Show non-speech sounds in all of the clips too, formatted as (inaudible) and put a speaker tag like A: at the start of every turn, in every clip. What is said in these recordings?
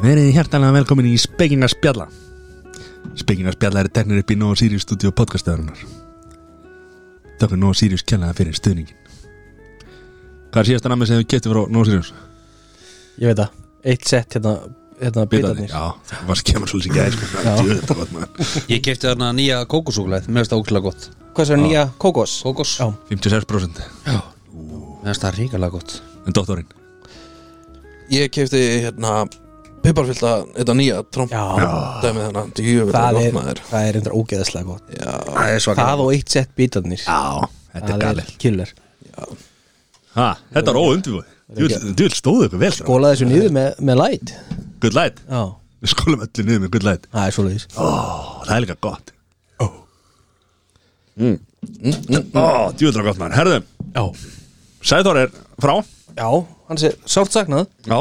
A: Verið hjertalega velkomin í Spekinga spjalla Spekinga spjalla eru teknir upp í Nóa Sirius stúdíu podcastöðurinnar Takk fyrir Nóa Sirius kjærlega fyrir stuðningin Hvað er síðasta namið sem þú getur frá Nóa Sirius?
B: Ég veit það, eitt sett hérna, hérna bitarnir
A: Já, það var skemmur svolítið gæði sko. Það er djöfull gott, maður.
C: Ég kefti þarna hérna nýja kókosúkulæð, mér finnst það ógæslega gott
B: Hvað er það nýja kókos?
C: Kókos,
B: Já.
A: 56%
C: mér finnst það ríkalega gott
A: En doktorinn
D: ég kefti hérna piparfylta, þetta nýja tromp
B: Já,
D: dæmið hérna, djöfum
B: það er, það er reyndar ógeðaslega gott
C: Það er svaka
B: Það og eitt sett bitarnir
A: Já, þetta er
B: Það er
A: galið
B: killer
A: Ha, Þetta var óundvíð Djöfull stóðu ykkur vel strákar.
B: Gólaði þessu niður með, með light
A: Good light
B: Sko- Já,
A: Við skólum öllu niður með good light
B: það er svoleiðis
A: Ó, það er líka gott Mm, Ó, djúðra gott maður Herðu,
B: Já,
A: Sæþór er frá
B: já, hann sé sárt saknað
A: Já,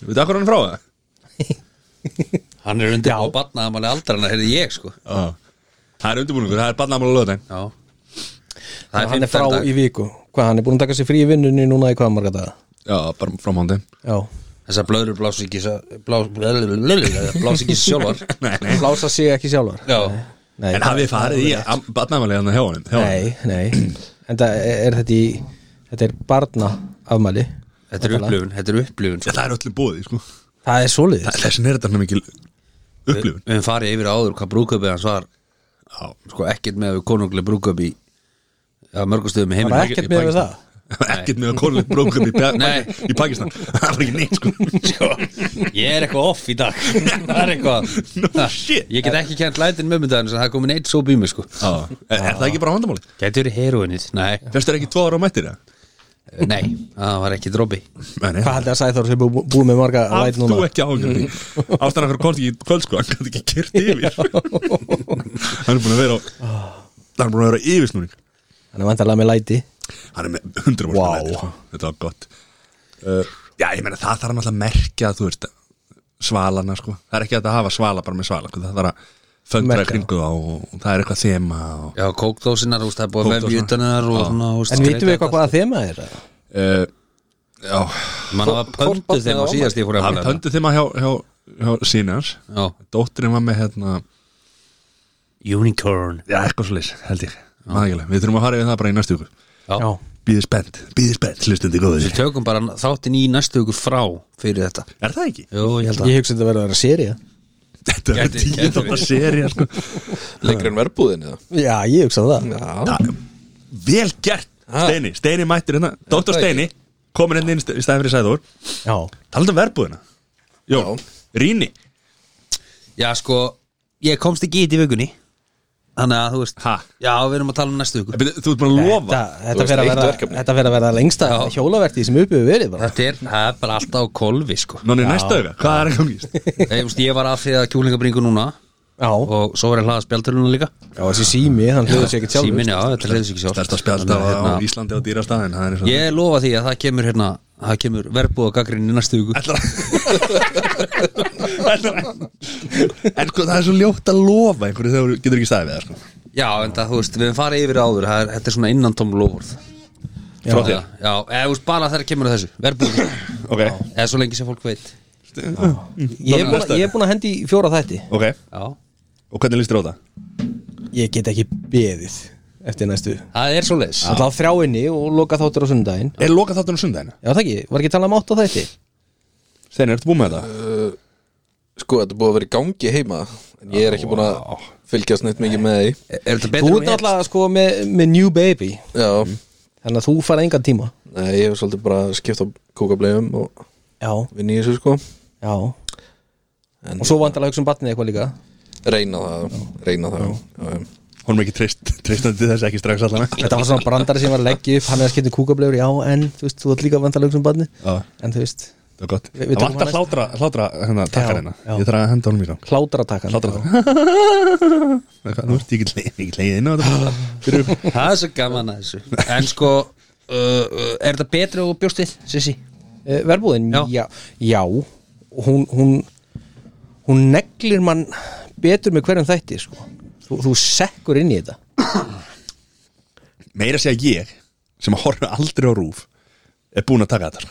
A: við veitum akkur hann er frá það
C: Hann er undir á batnaðamáli aldrana, heyrði ég sko
A: Já Það er undirbúningur, það er barnamála löðin
C: Já Það er
B: Hann er frá
C: 15 dag
B: í viku Hvað, hann er búin að taka sér frí í vinnunni núna í hvað marga daga
A: Já, bara frá mándi
B: Já,
C: Þessar blöður blási ekki blási ekki
B: (laughs)
C: sjálfar
A: Nei, nei
B: blása sig ekki sjálfar
C: Já,
B: Nei,
A: En hafið þið farið í barnamála hérna hjá honum hjá honum?
B: Nei, nei En það er þetta í, þetta er barna afmæli
C: þetta er upplifun, þetta er
B: (laughs)
C: upplifun sko.
A: Það er öllum búið, sko
B: Það er svoleiðis
A: Þessin er þetta mikil upplifun
C: Við höfum farið yfir áður hvað brúköpið hans var
A: Já,
C: sko ekkert með við konungli brúköp í að mörgustöðum í
B: Það
C: heiminn
B: var ekkert með það
A: (laughs) ekkert með að konulegt brókum í, Pa-
C: Nei.
A: í Pakistan (laughs) Það var ekki neitt, sko
C: Sko, ég er eitthvað off í dag (laughs) Það er eitthvað
B: (laughs)
A: No shit.
C: Ég get ekki kent lætin mömmundaginn sem það er komin eitt svo bími sko
A: Já, er, er það ekki bara vandamáli?
C: Gæti verið heroinnið? Nei,
A: Festur ekki tvo ára á mættir, eða?
C: nei, það var ekki dropi
A: Nei, nei
B: Hvað haldið að Sæþór sem búið bú með marga
A: Allt
B: læt
A: þú
B: núna?
A: ekki
B: (laughs)
A: ágjörði Ástæðan okkur komst ekki í kvöld sko Hann gæti ekki kyrt yfir Hann er búin að vera á Hann er búin að vera á yfirsnúning
B: Hann er vantarlega með læti
A: Hann er með 100 wow.
B: Vá.
A: sko. Þetta var gott uh, Já, ég meina það þarf náttúrulega að merkja Þú veist, svalana sko Það er ekki hægt að hafa svala bara með svala sko. Það þarf að föndra
B: Merkja.
A: kringu á og það er eitthvað þema og,
C: Já, kókdósinar, úst, það er búið að vefja
A: Kókdósina.
C: utan hennar og svona, úst,
B: En vitum við eitthvað hvaða þema er?
A: uh, Já,
C: Man hafa pöndu
B: Kókdósin
C: þeim á
B: á
C: síðast ég fór að
A: hann
C: fara
A: pöndu þema hjá, hjá, hjá sínans
C: Já,
A: Dóttirinn var með hérna
C: unicorn
A: Já, eitthvað svo held ég Maðurlega, við þurfum að fara yfir það bara í næstu ykkur
C: Já,
A: Býðið spennt, býðið spennt, hlustandi góðið
C: við tökum bara þáttin í næstu ykkur frá fyrir þetta
A: Er það ekki?
C: Jú, ég held að
B: Ég hugsa þetta verið að vera seria
A: Þetta er
C: Gæti-
A: tíu
C: gæti
A: þáttar
C: verið.
A: seri sko.
D: lengri en verbúðin eða
B: Já, ég hugsa um það
D: já,
A: Það- Vel gert,
D: Ha.
A: Steini Steini mættir hérna, Dr.
D: það
A: Steini Komin hérna inn í sta- í staðin fyrir Sæður
B: Já,
A: Talandi um verbúðina Jó, Ríni
C: Já, sko, ég komst ekki í þetta í vögunni Þannig að, þú veist
A: Ha?
C: Já, við erum að tala um næstu ykkur
A: Þú ert búin að lofa
B: þetta, þetta
D: veist,
B: fer að
D: eitt
B: vera,
D: verkefni.
B: þetta fer að vera lengsta
C: Já.
B: hjólaverti sem uppið verið bara
C: Þetta er, það er bara alltaf á kolvi, sko
A: Nóni næsta auga, hvað er að gangist?
C: Ég, úst, ég var að því að kjúlingabringu núna
B: Já,
C: Og svo var ég að hlaða spjaldurluna líka
B: já þessi sími, hann hljóður sér ekki sjálfur
C: Síminn, já, þetta reyðis ekki sjálf
A: Þetta spjálta
C: Þannig að,
A: á
C: hérna,
A: Íslandi á dýrastaðin Það er eins og
C: Ég lofa því að það kemur hérna Það kemur verbuð og gaggrinni næstu viku
A: Ætlar að- En sko, það er svo ljótt að lofa einhverju þegar þú getur ekki staðið við það sko.
C: Já, en það, þú veist, við erum farið yfir áður það er, Þetta er svona innantóm lofurð
A: Frá
C: Já,
A: þér,
C: já eða, þú veist, bara þegar kemur að þessu Verbuð,
B: (coughs)
A: ok
C: eða svo lengi sem fólk veit
B: Ég er búin að- ég er búin að hendi í fjóra þætti
A: Ok,
C: Já,
A: og hvernig líst þér á það?
B: Ég get ekki beðið eftir næstu
C: það er svo leis
B: Það á þrjáinni og loka þáttur á sundaginn
A: Er loka þáttunum sundaginu?
B: Já, það ekki, var ekki að tala um átt á þætti?
A: Steini, ertu búið með þetta?
D: sko þetta er búið að vera í gangi heima en ég er ekki búin að fylgjast neitt mikið með því
C: Er er þetta
B: Þú
C: betur
B: ert náttúrulega sko með, með New Baby
D: já,
B: Þannig að þú farið engan tíma
D: nei, ég hef svolítið bara skipt á kókablegum og
B: Já,
D: vinni í þessu sko
B: já Og
D: en
B: svo vantarlega hugsa um batnið eitthvað líka
D: reyna það, reyna það já, já.
A: Hún er ekki treyst, (laughs) treystandi þess ekki strax allan
B: Þetta var svona brandari sem var að leggja upp Hann er að skipta kúkablefur, já, en þú veist, þú ert líka vantarlega hugsa um batnið
A: Já,
B: En þú veist,
A: það var gott
B: Við- við
A: Það
B: tökum
A: vantar
B: hann
A: hlátra, hlátra hérna, takkar hérna
B: já.
A: Ég þarf að henda honum í gang
B: hlátratakan
A: Hlátra
B: (laughs)
A: takkar Nú ertu ekki leið- ekki leiðið inn á þetta Fyrir um upp
C: Það er svo gaman að þessu En sko, uh, uh, er þetta betra og bjóstið, Sissi?
B: Eh, Verbúðin,
C: Já.
B: já, já Hún, hún, hún neglir mann betur með hverjum þætti sko. þú, þú sekkur inn í þetta
A: Meira að segja ég, sem að horfa aldrei á rúf Er búin að taka þetta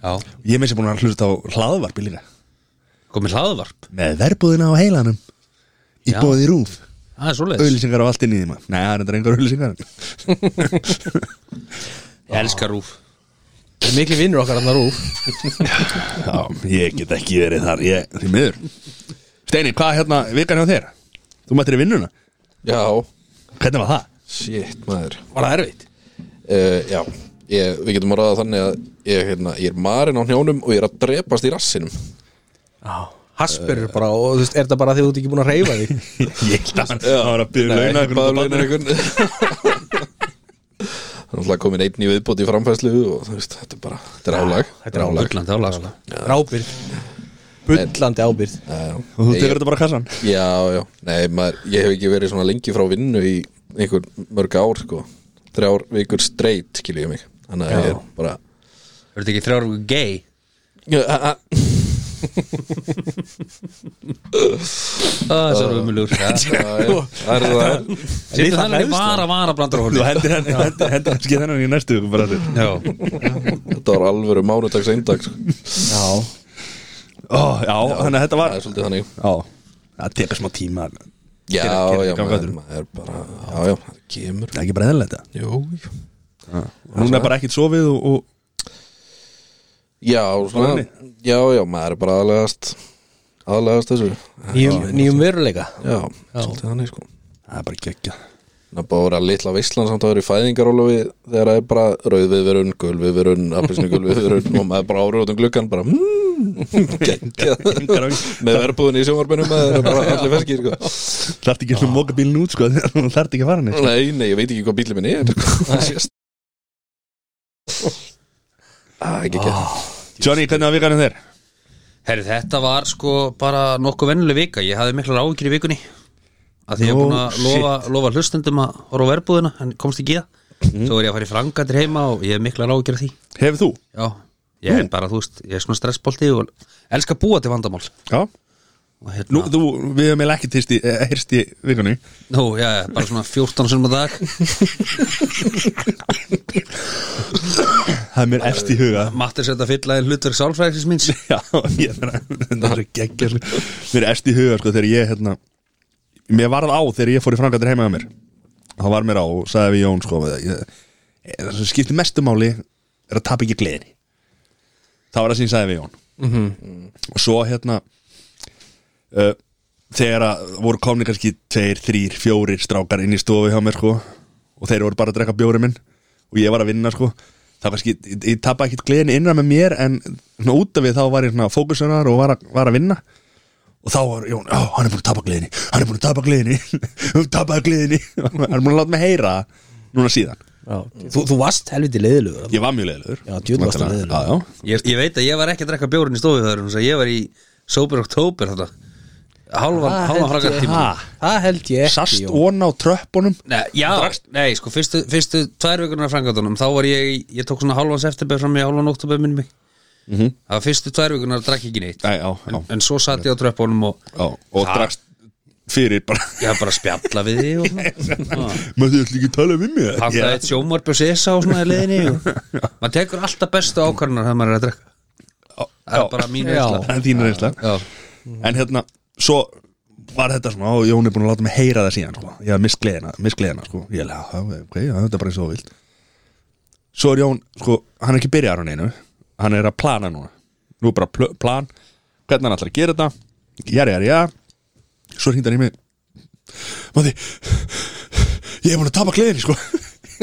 C: Já,
A: Ég er meins að búin að hlusta á hlaðvarpi líka
C: komið hlaðvarp
A: Með verbúðina á heilanum Í
C: Já.
A: bóði rúf
C: Það er svoleiðis,
A: Auðlýsingar á allt inn í því maður Nei, það er þetta engar auðlýsingar
C: ég elskar rúf
B: Það er miklu vinnur okkar annar úr
A: Já, ég get ekki verið þar ég, Því miður Steini, hvað hérna, vikan hjá þér? Þú mættir í vinnuna,
D: Já,
A: hvernig var það? (laughs)
D: shit maður
B: Var það erfitt?
D: uh, Já, ég, við getum að ráða þannig að ég, hérna, ég er marinn á hnjánum og ég er að drepast í rassinum
B: Já Hasper er bara, og þú veist, er þetta bara því þú ert ekki búin að reyfa þig?
A: Ég held að hann það var að um byrja launa
D: ekki bara launar ykkur Það (laughs) er alltaf komin einn í viðbót í framfæslu og þú veist, þetta er bara, þetta er álag
B: Þetta er álag
C: Bullandi álag sko.
B: Rábyrð Bullandi ábyrð
A: Og þú
D: Ég-
A: tekur þetta bara kassan
D: Já, já, nei, maður, ég hef ekki verið svona lengi frá vinnu í einhver mörg ár, sko Þrjár vikur straight, skilur ég mig Þannig að ég er bara
C: Er þetta ekki þrjár vikur gay?
D: Já, a- a-
C: Það er svo umulugur
D: já,
B: (laughs)
D: já, það er það er.
C: Sýttu þannig var að vara blandar
A: Þú
C: hóli
A: hendir
D: (laughs)
A: henni, hendir henni, hendir henni í næstu viku bara þér
C: Já,
D: Þetta var alvöru mánudags eindag sko.
B: Já
A: Ó, já, þannig að þetta
D: Það
A: var
D: er svolítið þannig
A: Já, það tekur smá tíma Það
D: Já,
A: Gera- gera-
D: já,
A: ganga
D: maður
A: öðru.
D: maður er bara Já, já, það kemur
A: er ekki bara eðalegt það
D: Jú, jú
A: Núna er bara ekkert sofið og, og
D: Já, svona, já, já, maður er bara aðlegast aðlegast þessu
B: Nýjum, nýjum veruleika
D: Já, svolítið þannig sko
A: það er bara gekkja
D: Það er bara að vera litla veislan samt að vera í fæðingarólofi þegar það er bara rauð viðverun, gul viðverun, appisnu gul viðverun og maður bara ára út um gluggan bara mmm,
A: (laughs)
D: geggjað með verðbúðin í sjónvarpinu maður er bara allir ferskir sko.
A: Það ert ekki að móka bílinn út sko (laughs) Það ert ekki að fara neitt
D: Nei, nei, ég veit ekki hvað bílið minn er sko. Það sést Það er Ah, ekki ekki
A: Johnny, hvernig var vikanum þér?
C: herri þetta var sko bara nokkuð vennileg vika Ég hafði miklar áhyggjur í vikunni að því ég er
A: No
C: búin að lofa, lofa hlustendum að horfa á verbúðina en komst ekki í það
A: Mhm.
C: Svo er ég að fara í frangatir heima og ég hef miklar áhyggjur af því
A: Hefur þú?
C: Já, ég er bara, þú veist, ég er svona stressbolti og elska að búa til vandamál
A: Já
C: og hérna,
A: Nú, þú, við hefum eiginlega ekki tyrst í, eh, heyrst í vikunni
C: nú, já, já, bara svona 14 sem að dag
A: Það er mér efst í huga
C: Matti setja fylla í hlutverk sálfræðisins míns
A: (laughs) Já, ég þarf að þetta er svo geggjað Mér er efst í huga sko þegar ég hérna Mér varð á þegar ég fór í frangatir heima hjá mér þá var mér á og sagði við Jón sko ég- ég- Það sem skiptir mestumáli er að tapa ekki gleðinni Það var það sem ég sagði við Jón Og svo hérna uh, Þegar að voru komni kannski Tveir, þrýr, fjórir strákar inn í stofu hjá mér sko Og þeir voru bara að drekka bjóri minn Og ég var að vinna sko Það kannski, ég, ég tapa ekkit gleðin innra með mér En svona út af við þá var ég svona fókusunar Og var að, var að vinna Og þá var Jón, já, hann er búin að tapa gleðinni Hann er búin að tapa gleðinni (laughs) Hann tapaði gleðinni (laughs) Hann er búin að láta mig heyra það Núna síðan,
B: þú, þú varst helviti leiðilugur
A: ég var mjög leiðilegur
B: Já, djöfull varstu
A: Væntanlega.
B: leiðilegur.
A: Já, já,
C: ég, ég veit að ég var ekki að drekka bjórin í stofu þar ég var í Sober October þetta Hálfan, hálfan hraga tíma
A: Ha?
B: Það held ég ekki
A: Sast
B: Jón.
A: ón á tröppunum
C: Nei, já, nei, sko, fyrstu, fyrstu tvær vikunar af frangatunum, þá var ég, í- ég tók svona hálfan september fram í hálfan oktober minni mig
A: Mhm.
C: Það var fyrstu tvær vikunar að drekka ekki neitt
A: Æ, já, já,
C: en, en svo satt ég á tröppunum og
A: já Og
C: Það-
A: drakst fyrir bara
C: ég var bara að spjalla við þig og
A: (laughs)
C: svona.
A: Mættu ætla ekki að tala við mig
C: Pantaði
A: Já.
C: eitt sjómarp og sesa og svona í leiðinni og maður tekur alltaf bestu ákvarðunar þegar maður er að drekka Það
A: Já.
C: er bara mín
B: Já.
C: reynsla
A: Það er þín reynsla
C: Já,
A: En hérna, svo var þetta svona Og Jón er búin að láta mig heyra það síðan sko. Ég hafði mist gleðina, mist gleðina sko. Ég held, já, já, ok, já, þetta er bara eins og þú vilt Svo er Jón, sko, hann er ekki byrjar hann einu Hann er að plana núna Nú er bara pl plan Hvernig hann ætlar að gera þetta Jæri, jæri, já Svo hringdi hann í mig Mátti, ég er búin að tapa gleðinni, sko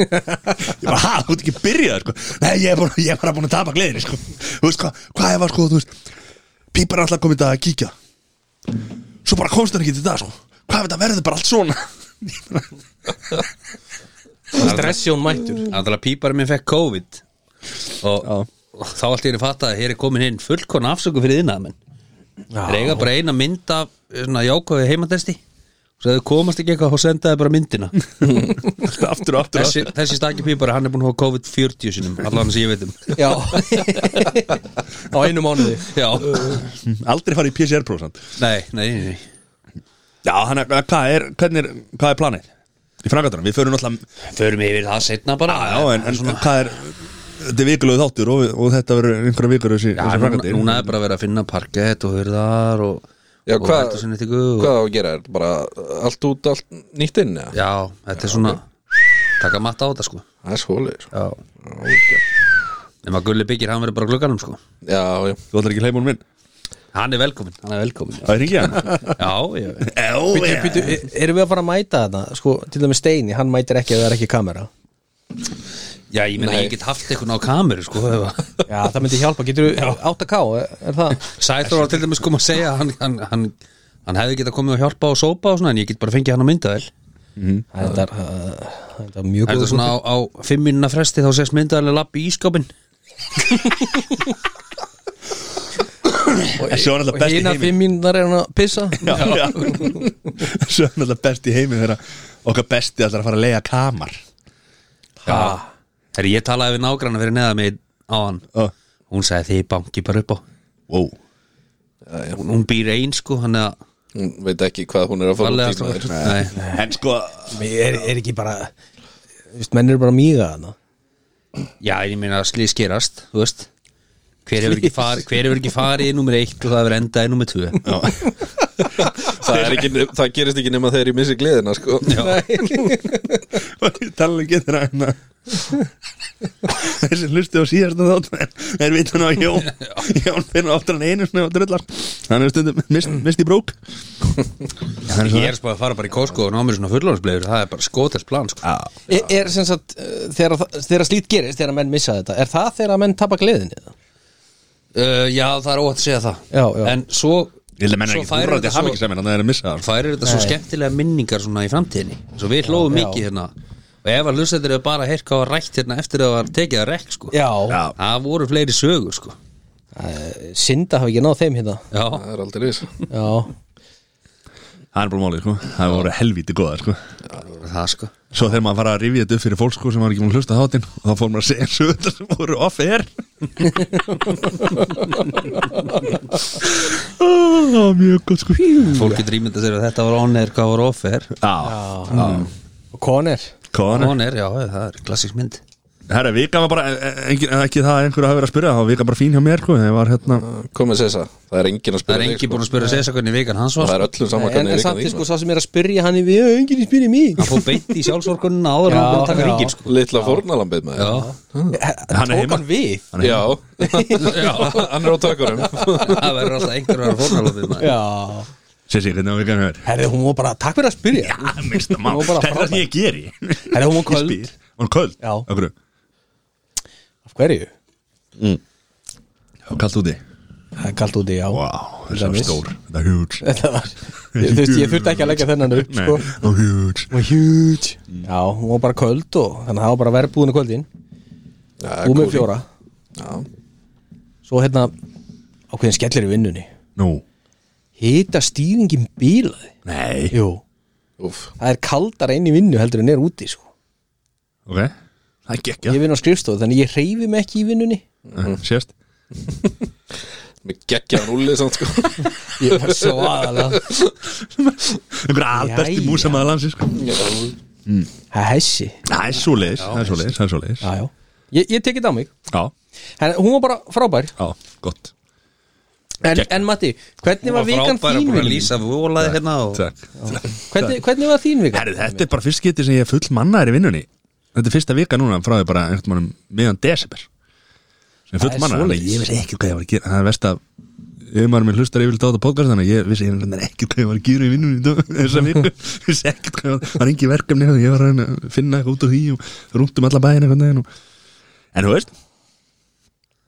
A: (laughs) Ég bara, hæ, þú ert ekki byrjað, sko Nei, ég er bara, ég er bara búin að tapa gleðinni, sko Þú veist hvað, hvað ég var, sko, þú veist Pípar er alltaf komið þetta að kíkja Svo bara komst hann ekki til dag, sko Hvað ef þetta verður bara allt svona
B: Stressjón mættur
C: þannig að píparinn minn fekk COVID og, og þá allt ég er að fatta að hér er komin inn fullkona afsöku fyrir þinn Það er eiga bara eina mynd af svona jákvæði heimatesti og svo þau komast ekki eitthvað og sendaði bara
D: (laughs)
C: myndina
A: Aftur og aftur
C: Þessi, þessi stakki pípari, hann er búin að hafa COVID 40 sinum allan sem ég veit um
D: (laughs)
B: Já (laughs) Á einu mánuði
C: Já,
A: Hm, Aldrei farið í PCR-próf, sant
C: nei, nei, nei, nei.
A: Já, hann er, hvað er, hvernig er, hvað er planið? Í frangatunum, við förum alltaf
C: Förum yfir það setna bara
A: Já, en, en hvað er Þetta er vikulegu þáttur og, og þetta verður einhverja vikur þessi,
C: Já,
A: þessi
C: núna,
A: framkvæmdir.
C: núna er bara að vera að finna parkett og hurðar og,
D: Já,
C: og
D: hvað-
C: eldhúsinnréttingu og,
D: Hvað á að gera, er þetta bara allt út, allt nýtt inn eða?
C: Já, þetta er svona Takka matta á þetta sko
D: Það er svoleið sko.
C: Já
D: Já,
C: Nefn að Gulli byggir, hann verður bara á glugganum sko
D: já, já.
A: Þú ætlar ekki að hleypa hún minn
C: Hann er velkomin Hann er velkomin
A: Það er ekki hann (laughs)
C: Já, ég
A: Já, já.
B: Býtu, e- erum við að fara að mæta þetta sko, til dæmis Steini, hann mætir ekki að það er ekki kamera
C: Já, ég meina,
D: Nei.
C: ég get haft einhvern á kameru sko ef-
B: já, það myndi hjálpa, getur við 8K er, er það?
C: Sæþór var til dæmis kom að segja að hann, hann, hann, hann hefði getað komið og hjálpa og sópa og svona En ég get bara fengið hann á myndavel
B: það er, uh, það Mhm. er mjög
C: Er þetta
B: góð
C: svona á, á fimm minna fresti þá sést myndavel að lappi í ískapin
A: Þessi var alltaf
B: og
A: best í
B: hina
A: heimi
B: fimm mínunar er hann að pissa
A: Já, (laughs) já. Þessi var alltaf best í heimi Þegar okkar besti ætlar að fara að leiða kamar
C: Já Þegar ég talaði við nágranna fyrir neða mig á hann
A: Ó,
C: Hún sagði þið banki bara upp á
A: Wow
C: Hún, hún býr einn sko, hann er
D: Hún veit ekki hvað hún er að fara
C: Valega
D: út í maður.
C: strákur Nei
A: En sko
B: er, er ekki bara Vist, menn eru bara að míga þarna
C: Já, ég meina slís gerast, þú veist Hver hefur ekki farið, hver hefur ekki farið í nummer 1 og það hefur endað í nummer 2
D: það, er ekki, það gerist ekki nema þegar ég missi gleðina sko.
A: Talan getur að hérna Þessi hlusti á síðasta þátt En þeir vita hann á Jón Jón finnur oftar en einu snöf og drullar Hann er stundum mist, mist í brók
C: Ég er spáð að fara bara í Costco og ná mér svona fullorðsblegur það er bara skotast plan sko.
B: (laughs) er, er sem sagt, uh, þegar, það- þegar slít gerist þegar menn missa þetta, er það þegar menn tapa gleðinni? eða?
C: uh, Já, það er óhætt að segja það
B: Já, já.
C: En svo,
A: Ég held að menna
C: svo
A: ekki
C: færir
A: þúrandi
C: þetta svo,
A: hafingisamin Þannig að það er að missa það sko.
C: færir þetta svo skemmtilega minningar svona í framtíðinni Svo við hlóðum
B: Já, já.
C: mikið hérna Og ef að hlustendur eru bara að heyrka á rætt hérna eftir að það var tekið að rekk sko.
B: já,
A: Já.
C: Það voru fleiri sögur sko.
B: já. Sinda hafi ekki náð þeim hérna
C: Já,
D: það er aldrei viss
B: já,
A: Það er bara málið sko Það voru helvíti góða sko
C: það sko
A: Svo þegar maður fara að rifja þetta upp fyrir fólk sko sem var ekki múin að hlusta á þáttinn og þá fór maður að segja sögundar sem voru (laughs) off-air Það var mjög gott sko
C: Fólk getur ímynda sér að þetta var on-air, hvað var off-air
A: Já,
B: og konir
A: kona
C: On-air, já, það er klassisk mynd
A: Herra, vika var bara, e- engin, ekki það að einhverju hafi verið að spyrja það var vika bara fín hjá mér sko Það var hérna,
D: komið sessa, það er engin að
C: Það
D: spyrja
C: er
D: þig,
C: enginn
D: sko.
C: búin að spyrja Sessa hvernig vikan hans var
D: það er
C: sko.
D: öllum saman
B: en, en
D: hvernig vikan
B: samt
D: þín
B: sko
D: var.
B: sá sem er að spyrja hann er við "Já, enginn í spyrja mig
C: Hann fór beint í sjálfsvorkunna áður en
B: Já,
C: hann búin að taka
B: já.
C: ríkir sko.
D: litla fórnalambið með
C: Já,
A: Hann er
B: tók
A: heima.
B: hann við
A: hann er
D: já, hann er á tökunum
C: (laughs) það verður alltaf einhver að vera fórnalófið maður
B: já,
A: Sessi, hvernig var vikan hjá þér?
B: herri hún var bara takk fyrir að spyrja
A: Já, minnsta mál,
B: Nú bara
A: þetta er það
B: frábær.
A: sem ég geri
B: herri hún var
A: Ég
B: köld
A: spyr. Hún köld?
B: Já.
A: Okkur,
B: af hverju?
A: kallt úti
B: það er kalt úti, já
A: Vá, þetta var
B: Dennis.
A: stór, þetta er huge
B: þetta
A: (laughs)
B: var, ég, sko. þú veist, ég þurfti ekki að leggja þennan upp
A: Nei,
B: sko.
A: það var huge
B: Hún var huge já, hún var bara köld og þannig að það var bara verið búin í kvöldin
D: já,
B: búin með
D: kúl.
B: fjóra
D: já,
B: svo hérna ákveðin skellir í vinnunni
A: Nú,
B: hita stýringin bílaði
A: nei,
B: jú,
D: úff,
B: það er kaldar inn í vinnu heldur en er úti sko.
A: ok Það gekk,
B: ég vinn á skrifstofu þannig ég hreyfi mig ekki í vinnunni
A: já, Eh, sést
D: með geggjaðan úli samt sko
B: ég var svo aðalega
A: einhver albesti
B: Jæja.
A: músamaður landsins sko.
B: það er hessi
A: það er svo leiðis það er svo leiðis, það er svo leiðis
B: já, já. Ég, ég tekið á mig
A: já,
B: en, hún var bara frábær
A: já, gott
B: en, en Matti, hvernig var
C: Hún var
B: vikan
C: frábær
B: þín
C: að búin að
B: vinur minn?
C: lýsa volaði hérna og
A: takk
B: hvernig, hvernig var þín vikan?
A: Herri, þetta er bara fyrst getið sem ég er full mannaðir í vinnunni þetta er fyrsta vika núna frá því bara einhvern mannum miðan desember sem
B: Það
A: full
B: er
A: mannaðir
B: svoleiðis.
A: ég vissi ekki hvað ég var að gera það er verst að umar minn hlustar yfirleitt á þetta podcast þannig að ég vissi ég ekki hvað ég var að gera í vinnunni í dag, (laughs) þessa viku vissi ekki hvað ég var það var engi verkefni og ég var að reyna að finna eitthvað út úr því og rúndum alla bæina einhvern veginn og... en þú veist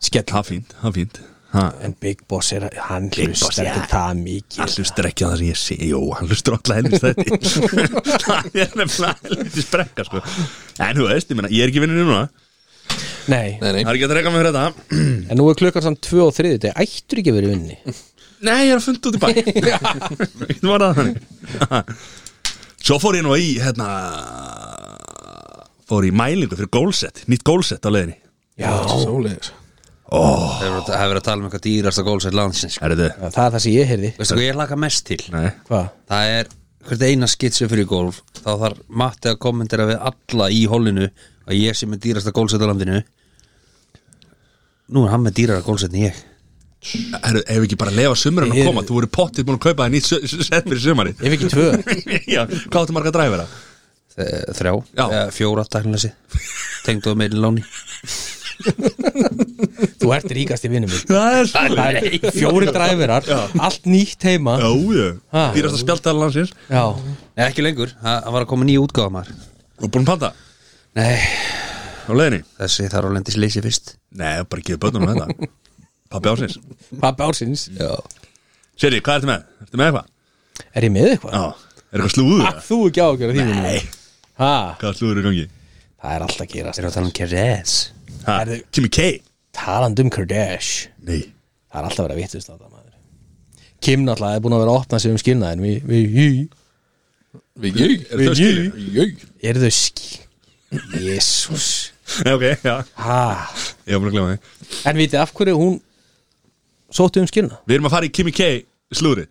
B: skell
A: það er fínt, það er fínt það
B: En Big Boss er, hann
A: Big Boss,
B: hlustar
A: já. Ah.
B: ekki það mikið
A: Hann hlustur ekki á það sem ég sé Jú, hann hlustur alltaf helvist (laughs) þetta Það er nefnilega helviti sprekka sko. En þú veist, ég, meina, ég er ekki vinnur núna
B: Nei,
D: nei, nei,
A: Það er ekki að reyka mig fyrir þetta
B: en nú er klukkan samt 2 og 3 Þetta ættur ekki að vera í vinni
A: Mm. Nei, ég er að funda út (laughs) í bæ Þú var það þannig Svo fór ég nú í hérna, Fór í mælingu fyrir gólsett Nýtt gólsett á leiðinni
B: Já,
D: svoleiðis
C: Það hefur það hefur verið að tala um eitthvað dýrasta gólsætt landsins sko.
A: Er þetta?
B: það er það sem ég heyrði
C: Veistu hvað ég laka mest til?
A: Nei
B: Hvað?
C: Það er hvert eina skitsu fyrir golf þá þarf Matti að kommentera við alla í holinu að ég sem er dýrasta gólsætt á landinu nú er hann með dýrara gólset en ég
A: Herru, ef ekki bara lefa sumurinn að
B: Ég-
A: koma Þú voru pottið búin að kaupa það nýtt su- su- set fyrir sumari
B: Ef ekki tvö
A: (laughs) Já, hvað áttu marga dræfara?
C: Eh, þrjá,
A: Já.
C: Eh, fjóra tæknilegsi tengduðu með láni
B: Þú ert ríkast í vinnum
A: Það er
B: Fjóri dræverar, allt nýtt heima
A: Já, já,
B: Ha.
A: dýrast að spjálta landsins
B: Já,
C: Nei, ekki lengur, það það var að koma nýja útgáfa maður
A: Og búin að panta
C: Nei,
A: á leiðinni
C: þessi þarf að lendi sleysi fyrst
A: Nei, bara gefa bönnum þetta Pappi ásins
B: pappi ársins
C: Já
A: Siri, hvað ertu með? Ertu með eitthvað?
B: Er ég með eitthvað?
A: Já, er eitthvað slúður?
B: Ah, Þú ekki ágjör að þínum
A: Nei,
B: Ha,
A: hvað slúður er í gangi?
B: það er alltaf að gerast
C: Þeir eru að tala um Keres
A: Ha,
B: Herðu-
A: Kimi K?
B: Talandi um Kardash
A: Nei
B: Það er alltaf verið að vittust á það maður Kim náttúrulega er búin að vera að opna sig um skilnaðin Við, við, við,
A: Er
D: Við jög
A: þau skilin?
D: Jög
B: eru þau skil Jésús
A: Nei, (laughs) ok, já,
B: Ha,
A: ég var búin að glemma því
B: en vitið af hverju hún sótti um skilna
A: Við erum að fara í Kimi K slúðri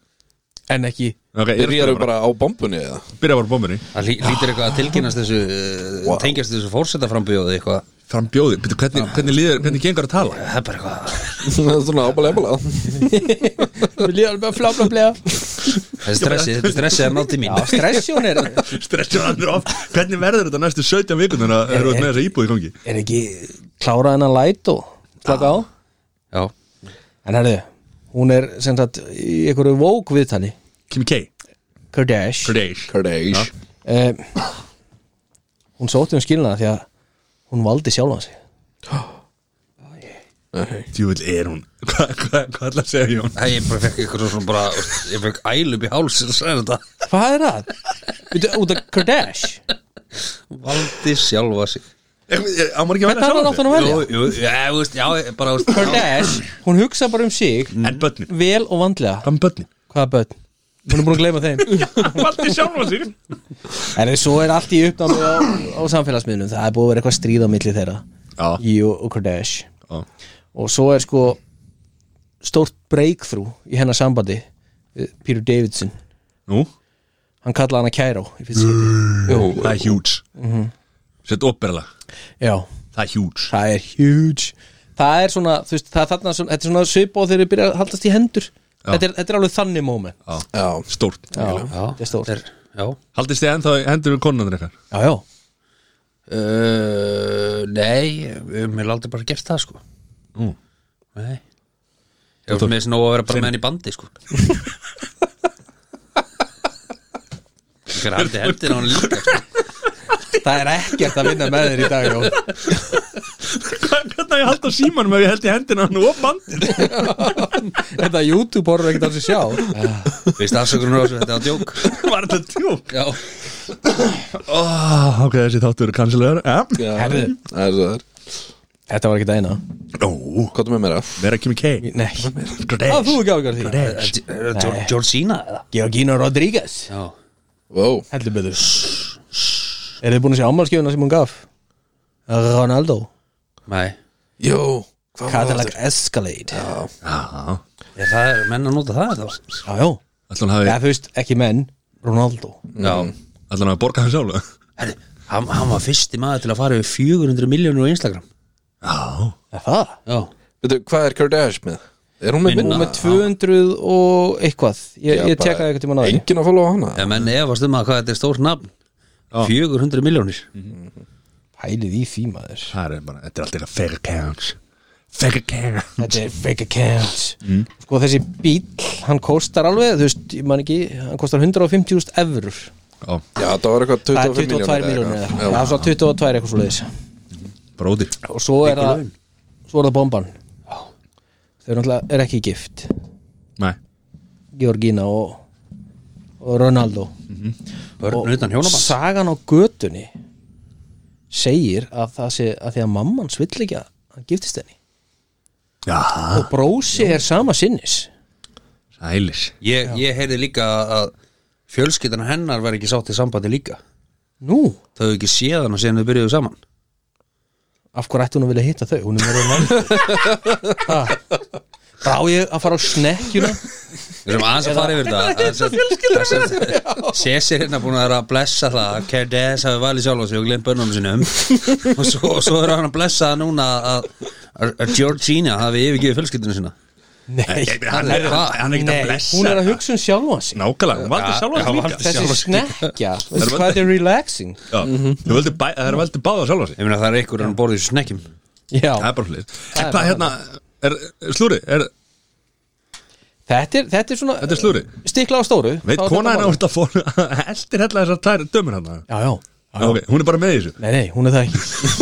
B: En ekki
A: Ok, ég er að
D: Byrjar
A: spila
D: við bara á bombunni eða (laughs)
A: bara- Byrja bara á bombunni
C: Það lí- lítur eitthvað að tilkynast þessu wow.
D: Wow.
C: tengjast þessu fórsetaframbjóði eitthvað
A: Frambjóði, betur hvernig, hvernig líður, hvernig gengur að tala? (laughs)
C: Það er bara eitthvað
D: Svona ábala ábala
B: Við líðum bara flá, flá, flá
C: Það er stressið, þetta er stressið að nátti mín
B: Já, stressi hún er
A: Stressur andur of Hvernig verður þetta næstu 17 vikun þannig að eru út með þessa íbúð í gangi?
B: Er ekki klárað hennar læt og klaka á
C: Já,
B: En herðu, hún er sem sagt í einhverju vók viðtali
A: Kimi K,
B: Kardash
A: Kardash
D: Kardeis
B: um, Hún sótti um skilna því að hún valdi sjálfan sig
A: Djúvill er hún Hvað hva, hva ætla að segja Jón?
C: Æ, ég bara fekk eitthvað svona bara Ég fekk ælup í háls og sagði þetta
B: Hvað er það? Veitu, út af Kardash
C: Valdi sjálfa sig
A: Á maður ekki að
B: Hvernig hann átt hann að velja?
C: Jú, jú, já, þú veist, já, ég bara þú veist, já.
B: Kardash, hún hugsa bara um sig
A: En börnin
B: vel og vandlega
A: Hvað með (laughs) börnin?
B: Hvaða börn? Hún er búin að gleyma þeim
A: Valdi sjálfa sig
B: En svo er allt í uppnámi á, á samfélagsmiðlum Það er búið að vera eitthvað stríð á milli þeirra
A: Já.
B: Ég og, og Kardash
A: Já.
B: Og svo er sko stórt breakthrough í hennar sambandi við Peter Davidson
A: Nú,
B: Hann kallaði hana Kæró í fyrsta skipti.
A: það er huge
B: Mhm.
A: Sett opberla
B: Já,
A: Það er huge
B: það er huge Það er svona, þú veist, það er þarna svona, Þetta er svona svipa og þeir eru byrjað að haldast í hendur þetta er, þetta er alveg þannig moment
D: Já
A: Stórt
B: Já, þetta er stórt
C: þetta er, já
A: Haldist þið ennþá í hendur við konunandur eitthvað?
B: Já, já,
C: uh, Nei, við höfum mér aldrei bara gert það, sko
A: Mm.
C: Nei Ég var með þess nóg að vera bara með henni í bandi, (laughs) sko Hver haldi hendir á hann líka, sko
B: það er ekkert að vinna með þér í dag Jón.
A: Hvernig að ég haldi á símanum ef ég held í hendina hann og bandin?
B: Þetta YouTube horfður ekkert á sig sjá
C: Veist afsökunum á þessu, þetta var djók
A: (laughs) Var þetta tjók?
C: Já,
A: Oh, ok, þessi þáttur er kansilegar ja.
D: Já,
B: Herðu.
D: Það er svo það er
B: Þetta var ekki það eina
A: Nú,
D: Hvað er með meira?
A: vera Kimi K
B: Nei,
A: Kardash.
B: að þú ekki ágjörð því
C: Er það Geor- Georgina, eða?
B: Georgina Rodríguez
C: Já
D: Vó
B: Heldur betur Er þið búin að sjá ámálskjöfuna sem hún gaf? Ronaldo
C: Nei
D: Jó Hvað var það?
B: Cadillac Escalade Já,
A: Já,
C: Er það er menn að nota það þá?
B: já,
A: allan hafi,
B: já þú veist, ekki menn Ronaldo
C: Já
A: allan hafi borgað hann sjálf
C: Mm. Herri, hann, hann var fyrsti maður til að fara yfir 400 miljónur á Instagram
A: Já,
B: Er það?
C: Já
D: Veitu, hvað er Kardash með? Er hún með minna?
C: Minna.
B: Hún með 200 og eitthvað Ég,
D: Já,
B: ég
D: bara-
B: tjekkaði eitthvað tíma náði
D: Engin að followa hana?
C: Ef menn efast um að hvað þetta er stór nafn 400 miljónir
B: Pælið í því maður
A: það er bara, þetta er alltaf eitthvað fake accounts Fake accounts
B: Þetta er fake accounts Sko þessi bíl, hann kostar alveg Þú veist, ég man ekki, hann kostar 150.000 eurur
A: Já,
D: Já, það var eitthvað
B: Það er
D: 25
B: 22 miljónir eða. Það er svo 22 eitthvað svo leiðis
A: bara ódýr
B: og svo er það svo er það bomban þau eru náttúrulega er ekki gift
A: Nei,
B: Georgina og, og Ronaldo
C: Börn utan hjónabann
B: sagan á götunni segir að það sé að því að mamman svill ekki að hann giftist henni
A: já,
B: og brósi er sama sinnis
A: sælis
C: Ég, ég heyrði líka að fjölskyldan hennar var ekki sátt í sambandi líka
B: nú,
C: Þau hefðu ekki séð hana síðan þau byrjuðu saman
B: af hverju ætti hún að vilja hitta þau hún er með Ronaldo Ha? brá ég að fara á snekkjuna
C: Við erum aðeins að fara yfir (laughs)
B: (laughs)
C: þetta Aðeins að- aðeins að- Sesir hérna búin að vera að blessa það að (laughs) Kerdes hafi valið sjálf á sig og glemt bönnum sinum og svo, svo er hann að blessa það núna að, að að Georgina hafi yfirgefið fjölskyldinu sína
B: Nei,
A: hann er- hann er ekkert að
B: nei,
A: blessa
B: Hún er að hugsa um sjálfan sig
A: Nákvæmlega, hún valdi
C: Ja,
A: sjálfa
C: já,
A: sig líka Já,
C: valdi sjálfa-
B: Þessi
C: sjálfan sig.
B: snekja, veistu
A: er
B: hvað þetta er relaxing
A: þau valdi bæ- Það er valdi báða sjálfa sig
C: Ég meina það er einhver hann borðið í snekkjum
A: Það
B: Já,
A: er bara hlut
B: er
A: En hvað
B: bara
A: hérna, er, slúri, er,
B: þetta er, þetta er svona uh,
A: þetta er slúri
B: Stikla á stóru
A: Veit
B: þá er
A: kona
B: þetta
A: henni á
B: mál.
A: þetta fór (laughs) Eldir hella þessar tær dömur hann
B: Já, já, já, já.
A: okay, Hún er bara með í þessu
B: Nei, nei, hún er það (laughs)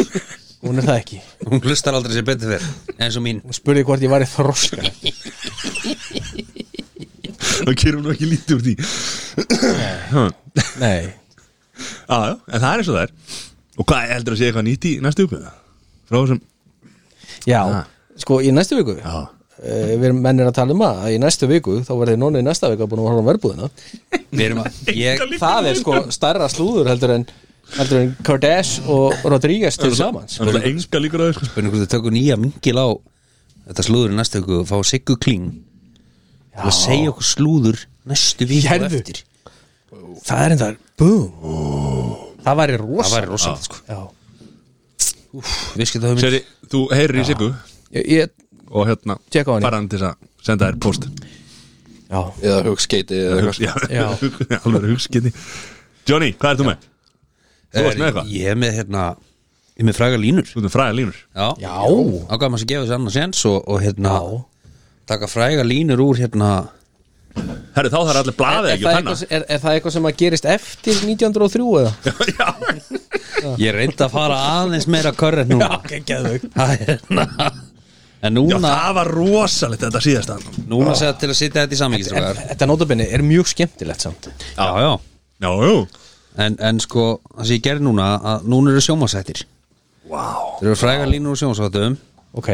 B: ekki Hún er það ekki
C: Hún hlustar aldrei sér betur fyrr eins og mín
B: Hún spurði hvort ég var í þroska
A: Það gerum nú ekki lítið úr því
B: Nei,
A: Já, já, en það er eins og það er Og hvað, heldur að sé eitthvað nýtt í næstu ykkur? Frá þessum
B: já,
A: Ah.
B: sko í næstu viku
A: Já,
B: Eh, við erum mennir að tala um að að í næstu viku þá verði nonni í næsta viku búin að horfa um verbúðina
C: Við erum
A: (laughs)
C: að ég,
B: það er sko stærra slúður heldur en, heldur en Kardash og Rodríguez til samans
A: það er það enga líkur að þessu sko.
C: Bönni hvort þau tökum nýja mingil á Þetta slúður í næstu viku og fá Siggu Kling til að segja okkur slúður næstu viku
B: Hérðu.
C: Hérðu. eftir
B: það er enda boom það væri rosa
C: Það væri rosalega sko
B: Já.
C: Við skilta höfum
A: Seri, þú heyrir í Siggu
B: ég, ég,
A: Og hérna,
B: Tjekka á henni.
A: fara hann til þess að senda þér post
B: já.
D: eða hugskeiti eða eitthvað
A: Já,
B: Já.
A: (laughs) alveg hugskynni Johnny, hvað er þú með? Þú varst með eitthvað?
C: Ég er með hérna Ég er með fræga línur
A: Þú ert með fræða línur
C: Já,
B: Já.
C: ákvæm að gefa þessu annan sens og, og hérna taka fræga línur úr hérna
A: Herri, þá þarf allir blaðið
B: Er,
A: ekki
B: það
A: að penna
B: eitthvað, er, er það eitthvað sem að gerist eftir 1903 eða?
A: (laughs) Já,
C: Ég reyndi að fara aðeins meira körrið núna
B: okay, geðvögg
C: (laughs) Það er hérna
A: já,
C: En núna,
A: það var rosalegt þetta síðast að
C: núna segja til að sitja þetta í samhengi strákar.
B: Þetta nótabenni er mjög skemmtilegt samt
C: Já, já
A: Já, jú
C: En, en sko, það sem ég gerði núna að núna eru sjómasættir
A: Vá
C: Þeir eru frægar línur úr sjómasættum
B: Ok,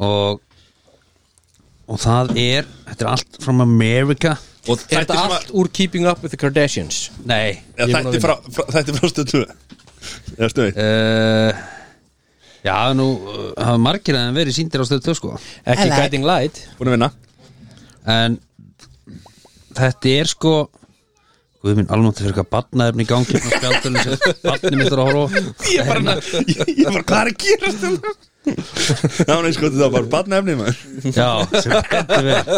C: og og það er, þetta er allt from America
A: Og
B: er
A: þætti
B: þetta
A: sem að-
B: allt úr Keeping Up with the Kardashians?
C: Nei
A: Já,
B: Ég er búin
A: Þætti
B: að
A: frá, frá, þætti frá stöðu Já, stöðu
C: uh, Já, nú uh, hafa margir að þeim verið síndir á stöðu tvö sko
B: Ekki Guiding Light
A: Búin að vinna
C: en þetta er sko Guð minn, almáttu fyrir hvað batnaðurinn í gangi og spjaldurinn sem batnið mitt er að horfa á.
A: Ég bara, (laughs) ég, ég bara, hvað er að gerast um Það var eins sko, það var bara barnefni maður (laughs)
C: (laughs) Já, sem betur verið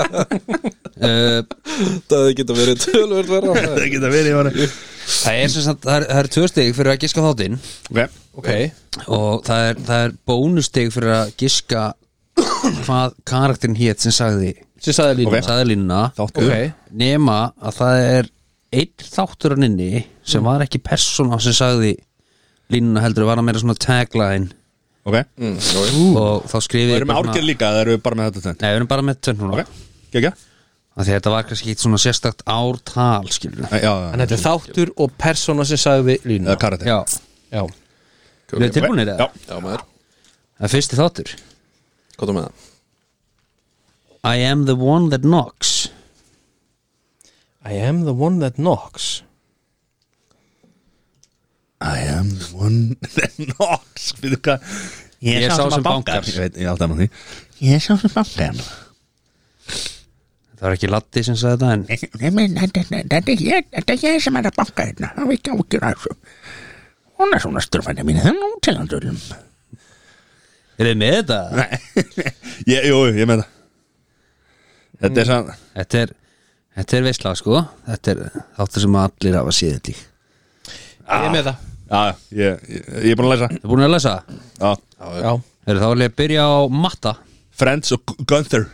C: uh,
D: það geta verið tölvöld
C: (laughs)
D: vera
A: Það geta verið, ég var að
C: Það er sem sagt, það er, það er tvö stig fyrir að giska á þáttinn
A: Ok,
B: Ok,
C: og það er, það er bónustig fyrir að giska hvað karakterin hétt sem sagði
B: sem sagði lína
A: Ok.
C: sagði línuna
B: Þáttur. Ok.
C: nema að það er einn þáttur hann inni
A: Mm.
C: sem var ekki persóna sem sagði línuna heldur var að meira svona tagline
A: ok
C: og þá skrifið
A: Við erum með árgerð líka, það erum við bara með þetta tvennt
C: Nei, við erum bara með tvenn núna
A: Ok, gegja
C: Af Því að þetta var kannski eitt svona sérstakt ártal skilur
A: Já, já,
B: Þannig að þetta er þáttur og persóna sem sagði lína
A: eða eh, karate
C: Já,
B: Já,
C: við erum tilbúinir eða?
A: Já,
D: já maður,
C: Það er fyrsti þáttur
D: hvað þú með það?
C: I am the one that knocks
B: I am the one that knocks
A: I am the one (laughs) that knocks Við þið hvað
C: Ég er sá sem bankar.
A: Ég veit, ég er alltaf með því Ég er sá sem bankar
C: Það var ekki Latti sem sagði þetta en
E: Nei, men þetta þetta er ég, þetta er ég sem er að banka hérna,
A: Nou,
E: það veit ég ákjör að þessu.
A: Oh,
E: Hún er svona styrfæni mín, það er nú til að dölum.
C: Er þið með þetta?
A: (laughs) Ég, jú, jú, ég með það Þetta er sann
C: Þetta er, þetta er veisla sko Þetta er þáttur sem allir hafa séð þetta í Þið
B: Ég er með það
A: Já, ég, ég, ég er búin að læsa
C: búin að lesa?
A: Já.
B: Já,
C: Er þá alveg að byrja á matta
A: Friends og Gunther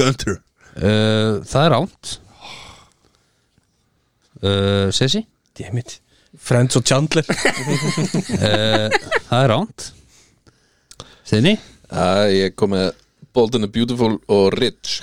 A: Gunther
C: uh, Það er ánt uh, Sessi?
B: dammit Friends og Chandler
C: Það er ánt (laughs) Steini?
D: Já, ég kom með Bold and the Beautiful og Rich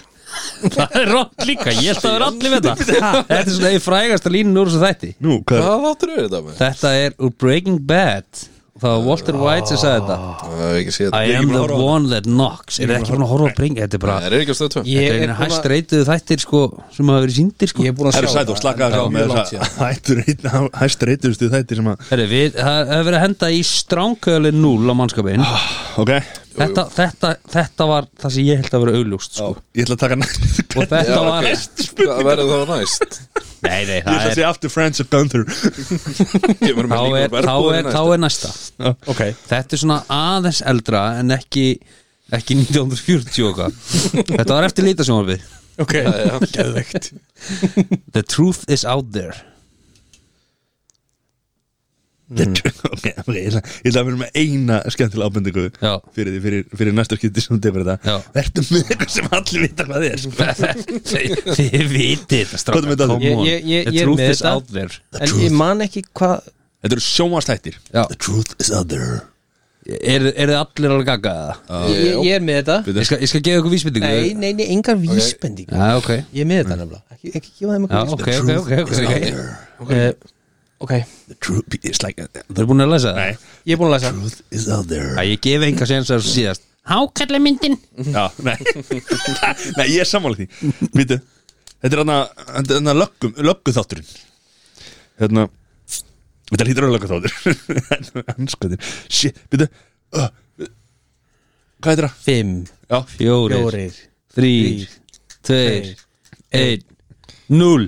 C: Það er rátt líka, ég held að það er allir með það Þetta er svona því frægasta línun úr þessu þætti
A: Nú, hvað er
D: Hvað þáttur er þetta með?
C: Þetta er úr Breaking Bad og Það var Walter White sem sagði þetta
D: Það er ekki séð
C: I
A: ekki búin
C: am
A: að
C: the
A: horfa á það.
C: one that knocks Er ekki búin að horfa að bringa Þetta er bara
D: Það er ekki á stöð
B: Ég
D: 2
C: Þetta er
B: er
C: einu
B: búin
C: hæst
B: að-
C: reytuðu þættir sko sem hafa verið síndir sko
B: Ég er búin að sjá
A: Herru sæt og slaka
B: það
A: það
B: er
A: með
B: mjög langt
A: þess að (laughs) hættur einna hæst reytustu þætti sem að
C: Herri, við, það hefur verið að henda í stránkölin 0 á mannskapin
A: ok
C: þetta, þetta, þetta var það sem ég held að vera augljóst sko.
A: ég ætla að taka næst
C: og
A: (laughs)
C: þetta
D: Já,
C: var
D: Hvað verður þá næst?
C: nei, nei,
A: ég ætla að
C: það er, Mm.
A: segja after Friends og Gunther
D: Kemur með
C: þá,
D: líkur
C: er, þá,
D: verbúðir
C: er,
D: næst
C: þá er næsta
B: Ok,
C: þetta er svona aðeins eldra en ekki ekki 1940 og hvað þetta var eftir lítasjónarfið
B: Ok, (laughs) geðvegt
C: The truth is out there
A: (laughs) ok, ok, ég ætla, ég ætla að vera með eina skemmtilega ábendingu
C: Já. (laughs)
A: fyrir, því- fyrir, fyrir næsta skipti sem þú tekur þetta
C: Já.
A: verður með eitthvað sem allir vita hvað er sko.
C: þið vitið þetta
A: Hvað er með
C: strákar,
A: þetta?
C: come
B: Ég-
C: on.
B: ég- ég-
C: The
B: ég er
C: truth
B: með
C: is
B: þetta.
C: out there
B: En ég man ekki hvað
A: Þetta eru sjónvastættir
C: Já.
A: The truth is out there
C: er, er þið allir alveg gaggaða?
B: ég, ég er með þetta
C: Ég skal, ég skal gefa ykkur vísbendingu
B: Nei, nei, nei, engar vísbending
C: Já, ok
B: Ég er með þetta nefnilega Ekki, ekki gefa þeim
C: Mm. Já,
B: eitthvað
C: ok, ok, ok, ok, ok
B: vísbending uh, Ok,
A: The truth is like
C: Það er búin að læsa það?
B: ég er búin að læsa
A: truth is out there
C: Æ, ég gef enga séns að þessu síðast Hákalla myndin
A: Já, nei (laughs) Nei, ég er sammála því Vítu, þetta er hana, þetta er hana löggum, lögguþátturinn Hérna Þetta lítur að vera lögguþáttur (laughs) Hanskotir Shit, vítu uh, Hvað heitir það?
B: Fimm,
A: Já,
C: Fjórir,
B: fjórir,
C: þrýr, tveir,
B: tveir,
C: einn, núl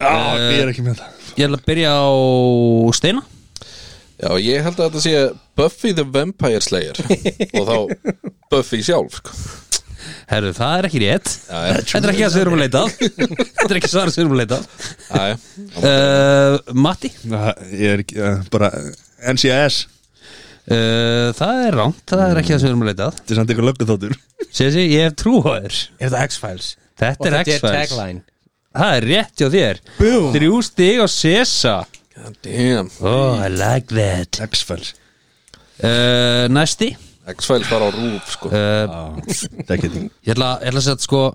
A: Já, ég er ekki með það
C: Ég ætla að byrja á Steina
D: Já, ég held að þetta sé Buffy the Vampire
B: (laughs)
D: Slayer og þá Buffy sjálf sko.
C: Herru, það er ekki rétt
D: Já, já.
C: Þetta er ekki það sem við erum að leita að Þetta er ekki svarað sem við erum að leita að
D: Æ,
C: uh, Matti
A: Já, Ég er ekki, uh, bara uh, NCIS
C: uh, Það er rámt, það er ekki það sem við erum að leita að
A: Þetta er samt eitthvað lögguþáttur
C: Sér ég hef trú á þér
B: er þetta X-Files? Og
C: Þetta er X-Files
B: tagline
C: Það er rétt hjá þér
B: Boom.
C: Þrjú stig á Sesa
D: God damn
C: Oh, I like that
A: X-Files
C: uh, Næsti
D: X-Files var á rúf sko.
C: uh,
A: Það er ekki því
C: Ég ætla, ég ætla að setja sko uh,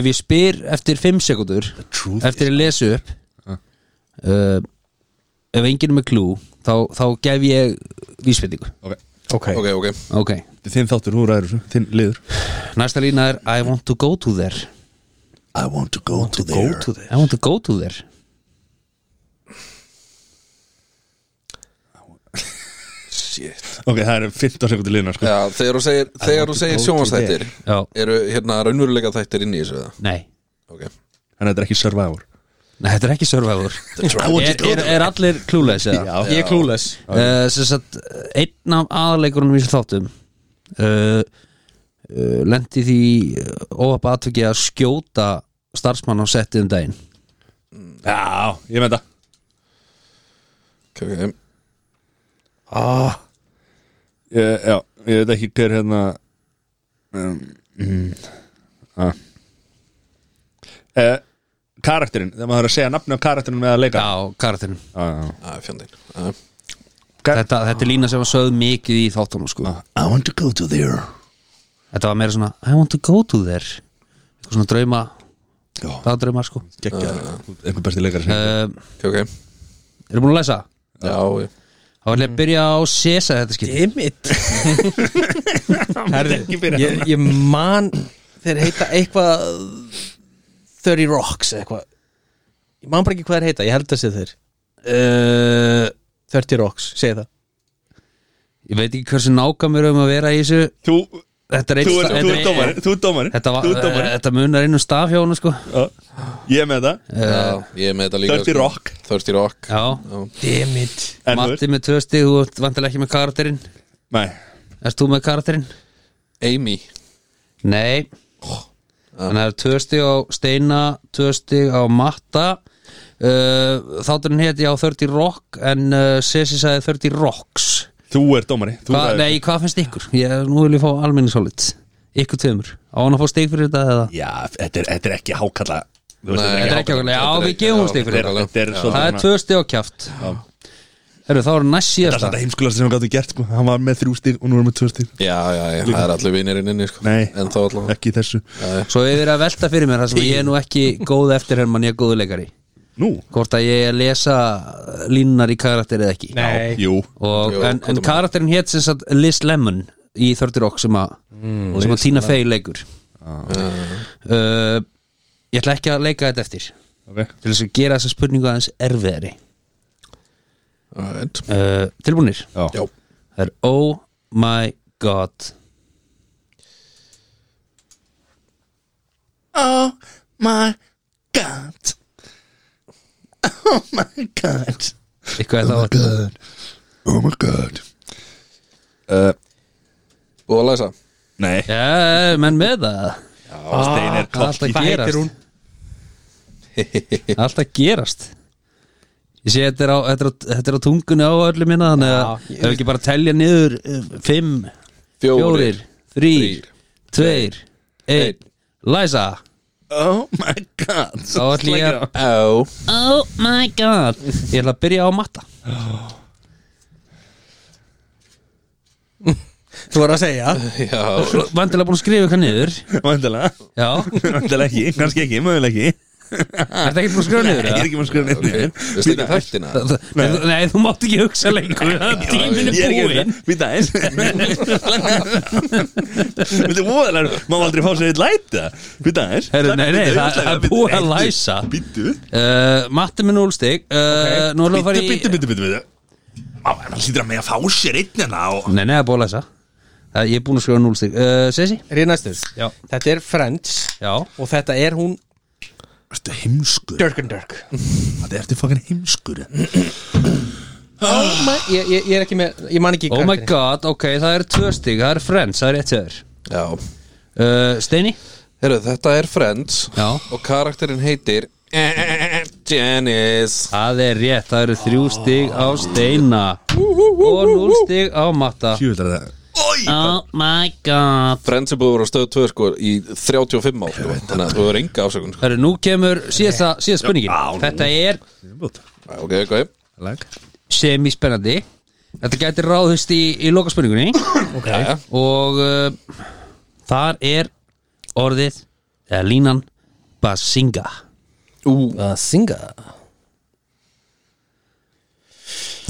C: Ef ég spyr eftir 5 sekundur
A: truth
C: Eftir ég lesu upp uh, Ef enginn er með klú Þá, þá gef ég vísbendingu
A: Ok
B: Ok,
D: Ok, ok
C: Ok,
A: Þinn þáttur, hún ræður þessu, þinn liður
C: næsta lína er I want to go to there
A: I want to go to
B: go to the
C: I want to go to there
D: Shit
A: Ok, það eru 15 sekundi liðna sko.
D: Já, þegar þú segir, þegar þú segir sjónvastættir
C: Já,
D: eru hérna raunveruleika þættir inn í þessu það
C: nei
D: Ok
A: Þannig að þetta er ekki Survivor
C: Nei, þetta er ekki Survivor
A: want to
C: er, er, er allir klúleis eða?
B: Ég er klúles
C: Uh, sem sagt, einn af aðarleikurunum í þessu þáttum uh, uh, lendi því óhaf aðtöki að skjóta starfsmann á settið um daginn
A: Já, ég með það
D: Ok, ok
A: ég, Já, ég veit ekki hver hérna um, mm, ah. eh, Karakterinn, þegar maður þarf að segja nafni á karakterinn með að leika
C: Já, karatinn
A: ah,
D: Æ, fjandinn Æ,
C: þetta, þetta er lína sem var sögð mikið í þáttunum sko.
A: I want to go to there
C: Þetta var meira svona I want to go to there Eitthvað svona drauma
A: Já.
C: Það drauma sko
A: Gekja, einhver besti leikar sem
C: uh,
D: Ok, ok
C: Eru búin að læsa?
D: Já, ég
C: Þá
A: Mm.
C: ætla ég að byrja á Sesa þetta skil (laughs)
B: Dimmit
C: Eh,
B: Herði, ég, ég man þeir heita eitthvað 30 Rocks eða eitthvað Ég man bara ekki hvað þeir heita, ég held að sé þeir
C: Eh,
B: uh, 30 Rocks, segi það
C: Ég veit ekki hversu nákvæmur um að vera í þessu
A: Þú,
C: Þetta er einn
A: þú er, þú
C: sta- þetta
A: er
C: er-
A: dómarinn Þú er dómarinn
C: Þetta, var, Eh,
A: Þú er dómarinn
C: þetta munar innum staf hjá hún sko.
A: Já, Ég er með það
D: Já,
C: Eh.
D: ég er með þetta líka
A: 30
D: sko.
A: Rock.
D: 30 Rock
C: Já,
B: Dimmit
A: En þú
C: Matti
A: veist,
C: með tvö stig Þú ert vantilega ekki með karakterinn
A: næ
C: Erst þú með karakterinn?
D: Amy
C: Nei Þannig að það er tvö stig á Steina Tvö stig á Matta uh, Þátturinn héti á 30 Rock En uh, Sessi sagði 30 Rocks
A: Þú er dómari þú
C: Hva,
A: ræður.
C: Nei, hvað finnst ykkur? Ég, nú vil ég fá almenni solid Ykkur tveimur Á hann að fá stig fyrir þetta eða?
A: Já, þetta er, þetta er ekki hákalla Þú veist,
D: Nei.
A: þetta
C: Þetta
A: er
C: er ekki okkur Já,
D: Þetta er
C: við
D: ekki-
C: gefum
D: já,
C: stig fyrir
A: Þetta er-
C: þetta
A: þetta er svolítið
C: Það er
A: svona-
C: tvö stig á kjáft Herru, þá er næst
A: Það er
C: síðasta
A: þetta heimskulast sem við gáttum gert sko. Hann var með þrjú stig og nú er hann með tvö stig
D: Já, já, já, það er allir vinirinn inni sko.
A: Nei.
D: En þá allavega
A: Ekki í þessu
C: Svo ég verið að velta fyrir mér það sem ég er nú ekki góð eftirhermann, ég er góðu leikari
A: Nú?
C: Hvort að ég er að lesa línunar í karakter eða ekki
B: Nei,
A: Jú
C: Og,
D: Jú,
C: En,
D: hvað
C: en
D: þú
C: karakterin hétt sem sagt Liz Lemon í 30 Rock sem að
D: Mm,
C: sem að Tina Fey leikur uh, Ég ætla ekki að leika þetta eftir til
A: okay.
C: þess að gera þessa spurningu aðeins erfiðari
D: Alright.
C: uh, Tilbúnir
D: Já,
C: Það er Oh My God
A: Oh my god Oh my god
D: Oh
A: (laughs)
C: Eitthvað er það
A: Oh my god uh,
D: og Eh, að læsa
A: Nei,
C: Já, Ah, menn með það
A: Stein er
C: Allt að
A: klokki
C: gerast Allt að gerast Ég sé þetta er á, þetta er á, þetta er á tungunni á öllum minna Þannig að ef ekki bara telja niður eh, Fimm,
D: Fjórir.
C: fjórir, þrýr, tveir, einn Læsa
A: Oh my god
C: Þá ætlum ég að
D: Á
C: Oh my god Ég ætla að byrja á matta
B: Þú var að segja
D: (laughs) Já,
C: Vandilega búin að skrifa eitthvað niður
A: Vandilega (laughs)
C: Já,
A: Vandilega ekki, kannski ekki, mögulega ekki
C: ertu ekki búin að skrifa
A: Nei, ég
C: niður
A: er
C: eða?
A: ekki maður að skrifa neitt niður.
D: veistu ekki þættina
A: (laughs)
C: Nei, þú- nei, þú mátt ekki hugsa lengur (laughs) Tíminu
A: Ég er ekki
C: búinn
A: Við dæs Við dæs Má aldrei fá sér eitt læta Við dæs
C: Herru, nei, nei, það- það er búið að læsa.
A: Býttu
C: uh, Matti með 0 stig uh, Nú erum við að fara
A: Býttu,
C: í
A: býttu, býttu, býttu Það hlýtur að með að fá sér einn hérna og
C: Nei, nei, það er búið að læsa Það- Ég er búin að skrifa 0 stig uh, Sessi?
B: Er ég næstur?
C: Já.
B: Þetta er Friends
C: Já
B: Og þetta er hún
A: Þetta er heimskur
B: Dirk and Dirk
A: Þetta er þetta fokkin heimskur
B: oh my, ég, ég, ég er ekki með Ég man ekki
C: Ah. Oh my
B: karakterinn.
C: god, ok, það er 2 stig Það er Friends, það er rétt hjá þér
D: Já
C: uh, Steini?
D: Heru, Þetta er Friends
C: Já.
D: og karakterinn heitir Janice
C: Það er rétt, það eru 3 stig á Steina Og 0 stig á Matta
A: Tjúvöldar það
C: Oh my god
D: Friends er búið að vera á stöð 2 sko í 35 ár sko. þannig að þú er enga afsökun sko.
C: Herru, nú kemur síðasta, síðasta spurningin Þetta er
D: Já, Ok, ok
A: Læk
C: semispennandi Þetta gæti ráðust í, í lokaspurningunni okay. og uh, þar er orðið eða línan Basinga
D: Ú,
B: Að synga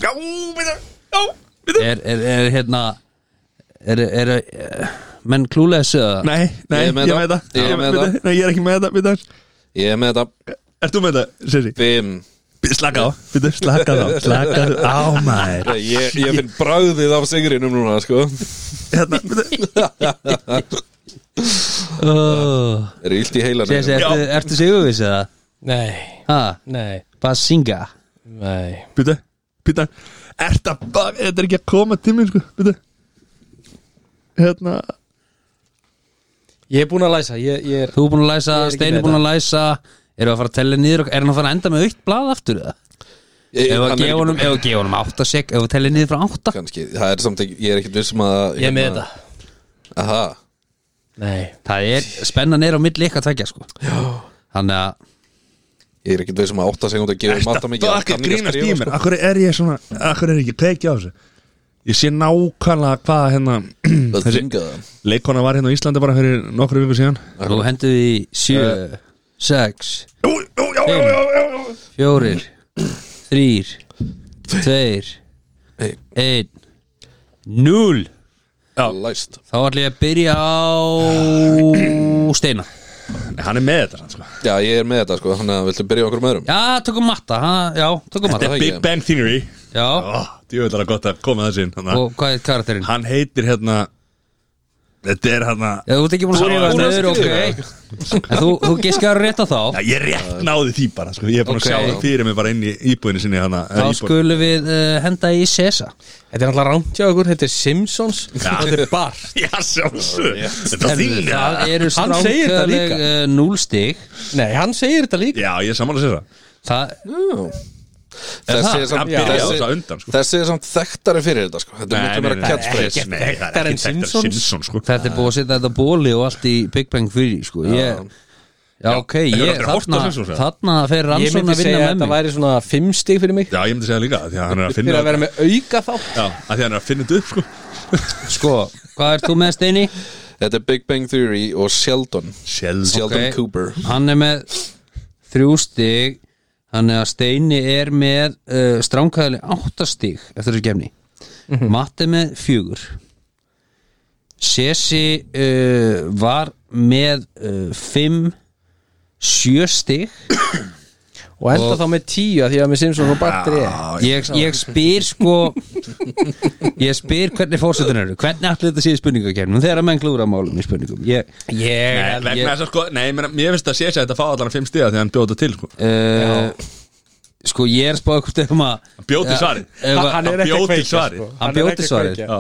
A: Já, býttu Já,
D: (laughs)
A: býttu
C: er, er, er hérna er, er, er menn klúleysu eða
A: Nei, nei, ég
D: Ég er með
A: með
D: þetta.
A: það
D: Ég er með
A: Bíddu, Nei, ég er ekki með það, býttu
D: ég er með þetta
A: Ert þú með það, Sessi?
D: Bim
A: Bíddu, Slaka á, býttu, slaka á Slaka á, maður
D: Ég, ég finn bragðið af sigrinum núna sko
A: Hérna, býttu
C: oh.
D: Er illt í heilanum
C: Sér, sér, ertu, ertu sigurvís eða
B: Nei,
C: ha,
B: nei,
C: Basinga
B: nei
A: Býta, býta Erta, þetta er ekki að koma til mér sko Býta Hérna
B: Ég er búin að læsa Ég, ég er
C: þú er búin að læsa,
B: Ég er ekki
C: Steini
B: með
C: er búin að læsa eru að fara að tella niður og- er hann að fara að enda með aukt blað aftur eða
D: Ég-
C: ef
D: hann
C: að
D: er ekki-
C: gefa honum, ef að gefa honum átta sek ef að tella niður frá átta
D: Kannski, það er samt ekki, ég er ekkert vissum að
B: Ég er með þetta
D: þetta Aha,
B: Hérna. Nei
C: Það er, spennan er á milli ykkar tvekja sko Já Þannig að,
D: ég er ekkert vissum að átta segund að sko. gefa matta mikið
A: Fuck, ég grínast í mér Akkur sko. er ég svona, akkur er ég ekki að kveikja á þessu Ég sé nákvæmlega hvað hérna (clears throat)
D: Það
A: Þessi
D: þingaða
A: leikona var hérna á Íslandi bara fyrir nokkru viku síðan
C: nú hendur við í sjö Sex
A: Jú, jú, já, já, já, já, já
C: Fjórir Þrýr Tveir
D: Einn.
C: Einn Núl
D: Læst
C: Þá ætlum ég að byrja á Steina
A: Nei, Hann er með þetta sann, sko
D: Já, ég er með þetta sko, þannig að viltu byrja okkur með öðrum
C: Já, tökum matta ha, Já, tökum matta
D: það ekki.
A: Big Bang Theory
C: Já
A: Djúvillara gott að koma þessi inn þarna.
C: Og hvað er karakterinn?
A: Hann heitir hérna Þetta er hérna
C: Já, þú ert ekki búin að skrifa
D: búin að
C: nöður, ok En þú, þú giskar rétt á þá
A: Já, ég rétt náði því bara, sko Ég er búin
C: Ok.
A: að sjá það fyrir mig bara inn í íbúðinu sinni hérna, hana,
C: Þá skulum við uh, henda í Sesa
B: Þetta er alltaf rámt hjá okkur Þetta er Simpsons
A: Já.
B: Og þetta er Bart
A: Já, sjálfsög Þetta
C: Herðu,
A: þýnir
C: Það eru
B: Hann segir þetta
C: strákaleg
B: líka.
C: uh, núlstig
B: Nei, hann segir þetta líka
A: Já, ég er saman að segja það
C: Það,
D: Þessi
A: það-
D: er samt
A: það byrja á
D: þessi-
A: það undan, sko.
D: Þessi er samt þekktari fyrir þetta sko Þetta er miklu meira catchphrase
A: Nei, það
B: Þetta er
A: er
B: en
A: ekki þetta
B: Simpsons.
A: Simpsons, sko
C: þetta er búið að setja þetta á bóli og allt í Big Bang 3 sko. ég, Já, ok,
A: þetta
C: ég,
A: er hort á
C: þarna,
A: Simpsons, eða?
C: þarna fer
B: Ég
C: rannsóna
B: myndi
C: að
B: segja
C: vinna
B: að
C: með
B: þetta
C: mig
B: væri svona fimm stig fyrir mig
A: Já, ég myndi segja líka Því að hann er að
B: Fyrir
A: finna
B: að vera með auka þátt
A: Já, að því að hann er að finna þetta upp, sko
C: Sko, hvað er þú með Steini?
D: Þetta er Big Bang Theory og Sheldon
A: Sjálfsög
D: Sheldon
C: Ok.
D: Cooper
C: Hann er með þrjú stig Þannig að Steini er með uh, stránkæðileg áttastig eftir þessu kemni Matti með fjögur Sessi uh, var með uh, fimm sjö stig
B: Og enda þá með tíu að Því að með Simpsons og Bart er ég
A: Ah,
C: ég, ég spyr sko ég spyr hvernig fórsetin eru hvernig allir þetta séu spurningakefnum þegar að menn glúra málum í spurningum ég, ég,
A: Nei, vegna þess að sko, nei, ég meina, mér finnst að sé sér að þetta fá allan fimm stiga því að hann bjóta til, sko
C: uh, sko ég er spáð hvort um að
A: Hann bjó til svarið.
C: ef að-
A: Hann- hann er ekki að kveikja, sko.
C: hann bjóti svarið
A: Já,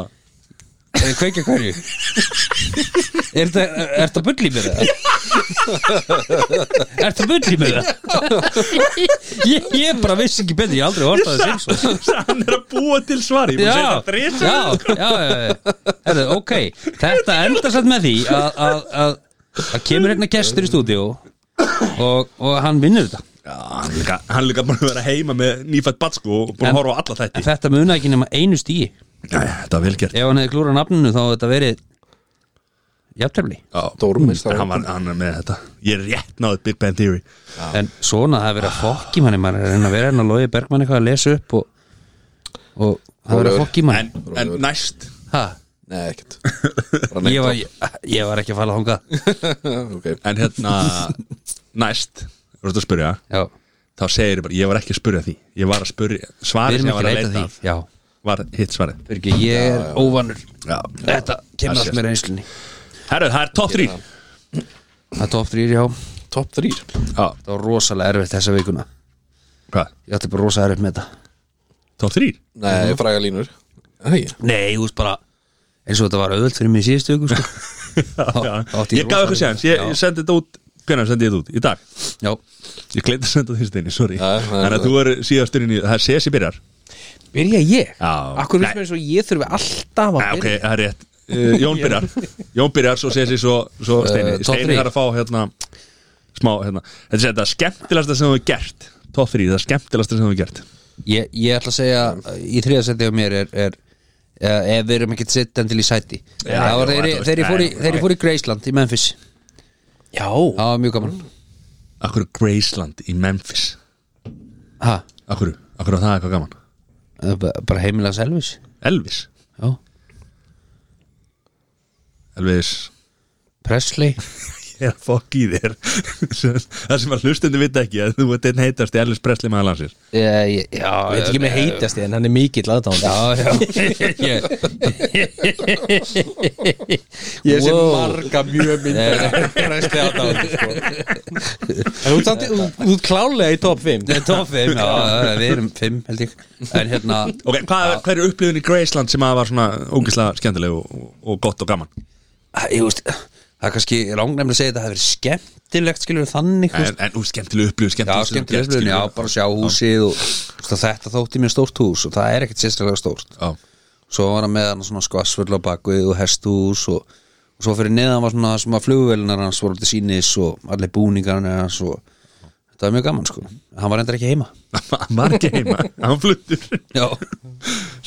C: Er þið Eh, kveikja hverju? Er þetta bull í mér það? Er þetta bull í mér það? Ég, ég bara vissi ekki betur, ég hef aldrei horfði að það
A: (laughs)
C: Simpsons
A: Hann er að búa til svar Ég búið að segja
C: Já,
A: þetta þrisvar.
C: já, já, já, já. Herðu, ok, þetta endar satt með því að, að, að, að kemur hérna gestur í stúdíu og, og hann vinnur þetta
A: Já, hann er líka, hann er líka búin að vera heima með nýfætt batsko og búin að
C: En-
A: horfa á alla
C: En
A: þætti
C: þetta muna ekki nema einu stíi
A: Jæja, Þetta var vel gert
C: Ef hann hefði klúrað nafninu þá hefði þetta verið Jafntefli
D: Dórmeistar
A: hann, var, hann er með þetta Ég er rétt náðið Big Bang Theory
C: En svona það hefði verið að fokki manni maður er að reyna að vera henn að logi Bergmann eitthvað að lesa upp og, og það hefði verið að
D: Ólafur.
C: fokki
A: En,
C: manni
A: en næst
C: Ha,
D: Nei, ekkert
A: (laughs)
D: Bara neitt
C: ég, var, ég, ég var ekki að fara þangað
D: (laughs) okay.
A: En hérna Næst Þú ert að spyrja
C: Já,
A: Þá segir ég bara Ég var ekki að spyrja því Ég var að spyrja
C: við
A: Svarið sem
C: erum
A: ég var að
C: ekki að leita
A: leita
C: því
A: af
C: Já,
A: Var hitt svarið
C: fyrir ekki, ég er óvanur
A: Já
C: Þetta kemur
A: Það
C: allt
A: sést.
C: með reynslunni
A: Herru, það er top 3
C: Það er top 3, já Það
D: Top 3
A: Já
C: var rosalega erfitt þessa vikuna
A: Hvað?
C: Ég ætti bara rosalega erfitt með þetta
A: Top 3?
D: Nei, fræga línur Nei,
C: Nei, þú veist bara eins og þetta var auðvöld fyrir mig í síðustu viku sko.
A: (laughs) Já
C: átti ég
A: Ég gaf
C: rosalega-
A: ykkur séans Ég,
C: Já.
A: ég sendi þetta út Hvernig sendi ég þetta út? Í dag
C: (laughs) Já,
A: Ég gleyndi að senda því steini, sorry
D: Já, já,
A: Þannig að
D: já.
A: þú er síðast inn í Það er sesi byrjar
B: Byrja ég?
A: Já.
B: Akkur
A: Nei.
B: veist mér eins og ég þurfi alltaf að
A: Nei, Ah, ok,
B: byrja
A: það er rétt uh, (laughs) Jón byrjar Jón byrjar, svo sé sér svo, svo Steini
C: top
A: Steini
C: three.
A: þarf að fá hérna smá, hérna Þetta er þetta skemmtilegasta sem þú hefur gert Top 3, það er skemmtilegasta sem þú hefur gert
C: ég, ég ætla að segja í þriðasendi á mér er, er eh, ef við erum ekkert sittandi til í sæti
A: Já,
C: það var
A: já,
C: þeir,
A: þetta var-
C: þeir, fór í,
A: nei,
C: þeir
A: nei.
C: fór í Graceland í Memphis
B: Já,
C: það var mjög gaman
B: Mm.
A: Akkur Graceland í Memphis
C: ha,
A: Akkur, akkur á það er eitthvað gaman
C: eh, ba- bara heimilags Elvis
A: Elvis,
C: já.
A: Elvis
C: Presley
A: Ég er að fokk í þér (laughs) Það sem að hlustundi vita ekki að þú ert einn heitast í Elvis Presley maður landsins
C: já, já, Eh, já,
B: ég veit ekki með heitast ég en hann er mikill aðdáðan
C: já, já
B: (laughs)
C: ég,
B: Ég sé
C: Wow. Eh,
B: marga mjög myndir
C: (laughs)
B: Ræsti aðdáðan sko. En þú ert samt- þú- þú ert klálega í top 5
C: Þetta var fimm, já, já, við erum fimm held ég En hérna,
A: Ok, hvað, hvað er upplifun í Graceland sem að var svona ógislega skemmtileg og, og- og gott og gaman
C: eh, ég veist Það er kannski rangnæmlega að segja þetta Það hefur verið skemmtilegt skilur við þannig þú veist.
A: En, en úr skemmtileg upplifun,
C: Já,
A: skemmtileg
C: skemmtilegt upplifun, já, bara sjá húsið og þú veist að þetta þótti mér stórt hús og það er ekkert sérstaklega stórt
A: (laughs) Já,
C: Svo var hann með hann svona skvassvöld á bakvið og hesthús og, og svo fyrir neðan var svona sem að flugvelinar hans voru til sínis og allir búningarnir hans og þetta var mjög gaman sko Hann var endur ekki heima
A: hann var ekki heima, (laughs) hann fluttur
C: Já,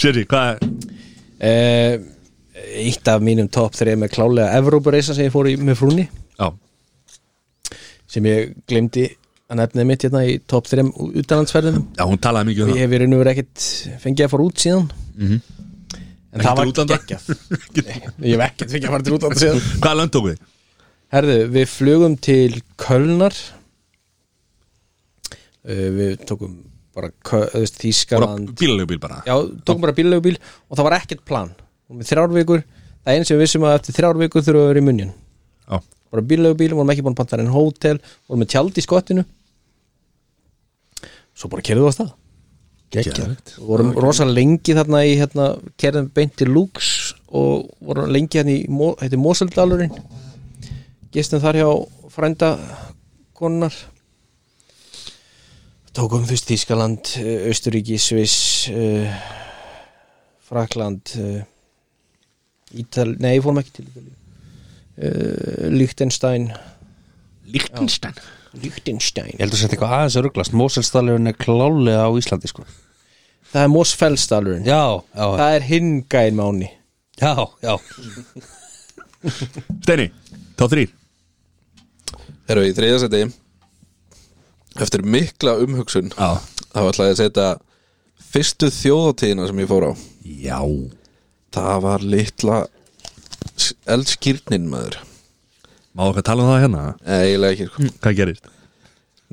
A: Sérri, hvað
B: Eh, Eitt af mínum top 3 með klálega Evrópureisa sem ég fór í með frúni
A: Já,
B: sem ég glemdi að nefnið mitt hérna í top 3 utanlandsferðum
A: já hún talaði mikið um
B: og ég
A: það
B: hef í raun og verið ekkert fengið að fara út síðan en það
A: til
B: var
A: útlanda? (laughs)
B: geggjað (laughs) ég hef ekkert fengið að fara til útlanda (laughs) síðan
A: Hvaða land tók þið?
B: herðu, við flugum til Kölnar uh, við tókum bara Köl- þú veist,
A: Bara
B: Þískaland
A: bílalegu bíl bara
B: já, tókum bara bíllegubíl og það var ekkert plan og með þrjár vikur, það einu sem við vissum að eftir þrjár vikur þurfum við að vera í munjun
A: já.
B: bara bíllegubíl, vorum ekki búin að panta en hótel vorum með tjald í skottinu svo bara kerðum við á stað
A: Gekkjart
B: og vorum rosa lengi þarna í hérna, kerðum beint til Lux og vorum lengi hérna í Mo- heitir Moseldalurinn gistum þar hjá frænda konar tókum þú veist Þískaland eh, Austuríki, Sviss uh, Frakland uh, Ítal, nei, fórum ekki til Ítalíu uh, Liechtenstein
A: Líktinstein
B: Liechtenstein,
C: ég held að setja eitthvað aðeins að rugglast Móselstallurinn er klálega á Íslandi sko
B: það er Mosfeldsdalurinn
C: Já, já,
B: það er hingæin máni
C: já, já
A: Steini, þá þrýr
D: Erum við í þriðja seti Eftir mikla umhugsun
A: Já.
D: Þá ætla ég að setja Fyrstu þjóðatíðina sem ég fór á
A: Já
D: Það var litla s- Eldskírnin maður
A: Má okkar tala um það hérna?
D: Nei, eiginlega ekki sko.
A: Hvað gerist?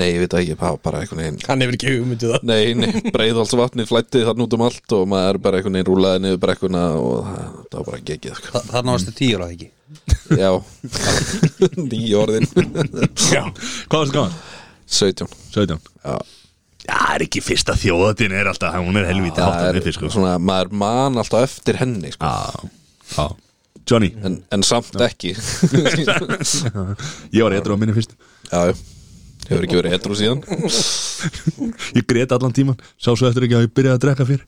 D: Nei, ég veit það ekki, það var bara einhvern veginn
B: hann hefur ekki hugmyndið það
D: Nei, nei, breiðhalsvatni flætti þarna út um allt og maður bara einhvern veginn rúlaði niður brekkuna og það, það var bara geggjað sko.
C: Þa, Þarna varstu tíur að ekki
D: Já, (laughs) nýja orðin (laughs)
A: Já Hvað varstu gaman?
D: 17
A: 17
D: Já,
A: Já, er ekki fyrsta þjóðatin er alltaf Hún er helvítið
D: það
A: alltaf
D: er
A: uppi sko
D: svona, maður man alltaf eftir henni sko.
A: Já Já. (laughs) Johnny,
D: en, en samt ekki (laughs)
A: ég var eitthvað á minni fyrst
D: Já, já Hefur ekki verið etru síðan
A: Ég grét allan tíman, sá svo eftir ekki að ég byrjaði að drekka fyrr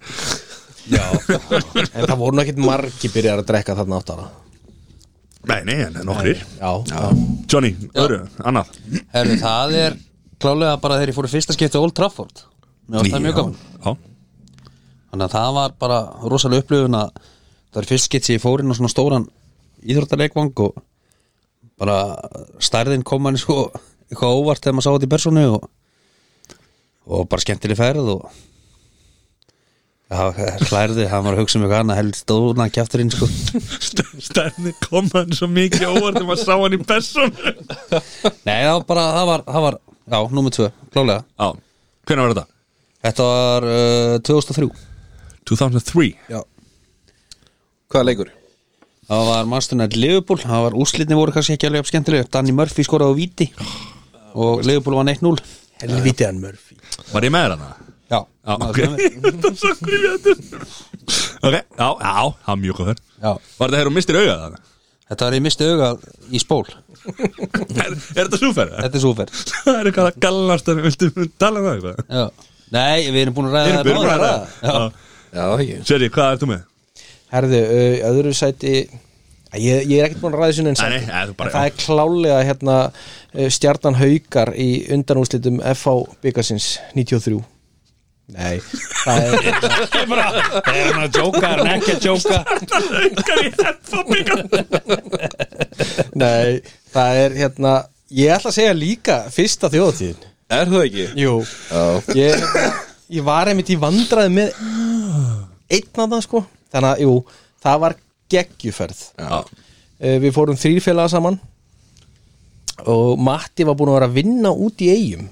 B: En það voru nú ekkert margi byrjar að drekka þarna átt ára
A: (laughs) Nei, nei, en nokkrir
B: Já, já.
A: Johnny, öðru, annað
C: Herðu, það er klálega bara þegar ég fór í fyrsta skipti á Old Trafford Mér varst það mjög gaman
A: Já,
C: Þannig að það var bara rosalega upplifun að það er fyrst skitt sem ég fór inn á svona stóran íþróttaleikvang og bara stærðin kom manni sko eitthvað á óvart þegar maður sá þetta í persónu og, og bara skemmtileg ferð og já, hlærði, hann var að hugsa um eitthvað annað held stóna kjafturinn sko
A: stærni kom hann svo mikið óvart þegar maður sá hann í person
C: Nei, það var bara, það var, það var já, númer tvö, klálega
A: Já, hvernig var þetta?
C: Þetta var uh, 2003
A: 2003
C: Já
D: Hvaða leikur?
C: Það var Masternet Liverpool, það var úrslitni voru kannski ekki alveg jafn skemmtileg Danny Murphy skoraði á viti og Liverpool var 1-0
B: Helviti hann Murphy
A: Var ég með þér hana?
C: Já,
A: Já, ok (laughs) Þetta er svo grifjöndur Ok, já, já, það er mjög góð þar
C: Já.
A: Var þetta hér og mistir augað þarna?
C: Þetta var ég misti auga í spól
A: Er, er þetta súferð?
C: Þetta er súferð
A: Það er eitthvað að gallast að viltu tala um það eitthvað?
C: Já. Nei, við erum búin að ræða
A: Við erum búin að ræða
C: Já.
A: það.
D: Já, ekki
A: Já. Sverri, hvað ertu með?
B: Herðu, ö, í öðru sæti Æ, Ég, ég er ekkert búin að ræða sinni en
A: Nei,
B: sæti
A: nei, það er
B: En
A: bara
B: það er klálega hérna ö, stjarnan haukar í undanúslitum FH byggasins 93 Nei, það er (laughs)
C: Er hann að jóka, er hann ekki að jóka
A: Hvað er þetta byggjað?
B: Nei, það er hérna Ég ætla að segja líka fyrsta þjóðatíðin
D: Er það ekki?
B: Jú
D: Já,
B: Ég, ég var einmitt í vandraði með einn að það sko Þannig að, jú, það var geggjuferð
D: já
B: Eh, Við fórum þrýrfélaga saman Og Matti var búin að vera að vinna út í eigum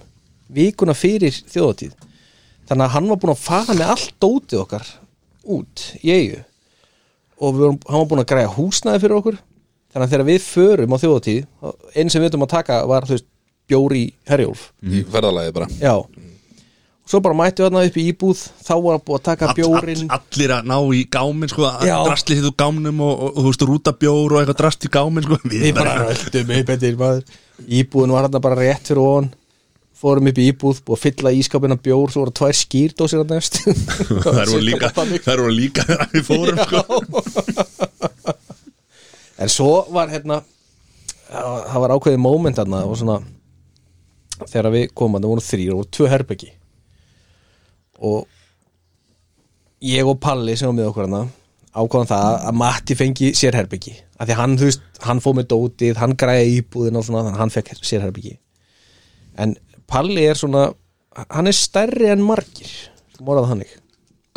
B: Vikuna fyrir þjóðatíð Þannig að hann var búin að fara með allt dótið okkar Út í eigu Og við vorum, hann var búin að græja húsnæði fyrir okkur Þannig að þegar við förum á þjóðatíð Einn sem við veitum að taka var þú veist, bjóri herjólf
D: Í ferðalagi bara (laughs)
B: Já Svo bara mættu við hann upp í íbúð Þá var búin að taka bjórin
A: all, Allir að ná í gámin sko, að
B: Já.
A: drastli hitt úr gáminum og, og, og þú veist, rútabjór og eitthvað drast í gámin sko. Við,
B: Við bara röldum upp eftir maður Íbúðin var hérna bara rétt fyrir ofan Fórum upp í íbúð, búið að fylla ískapina bjór Svo voru tvær skýrdósir hérna efst
A: (laughs)
B: (laughs)
A: Það eru líka, þær voru líka þegar við fórum sko.
B: En svo var hérna Það það var ákveðið moment hérna og svona, Þegar við komum þarna voru þrýr og voru tvö herbeggi Og Ég og Palli sem var með okkur hérna ákvaðan það að Matti fengi sér herbyggi af því að hann, þú veist, hann fóð með dótið hann græja íbúðin og svona þannig að hann fekk sér herbyggi en Palli er svona hann er stærri en margir morðað þannig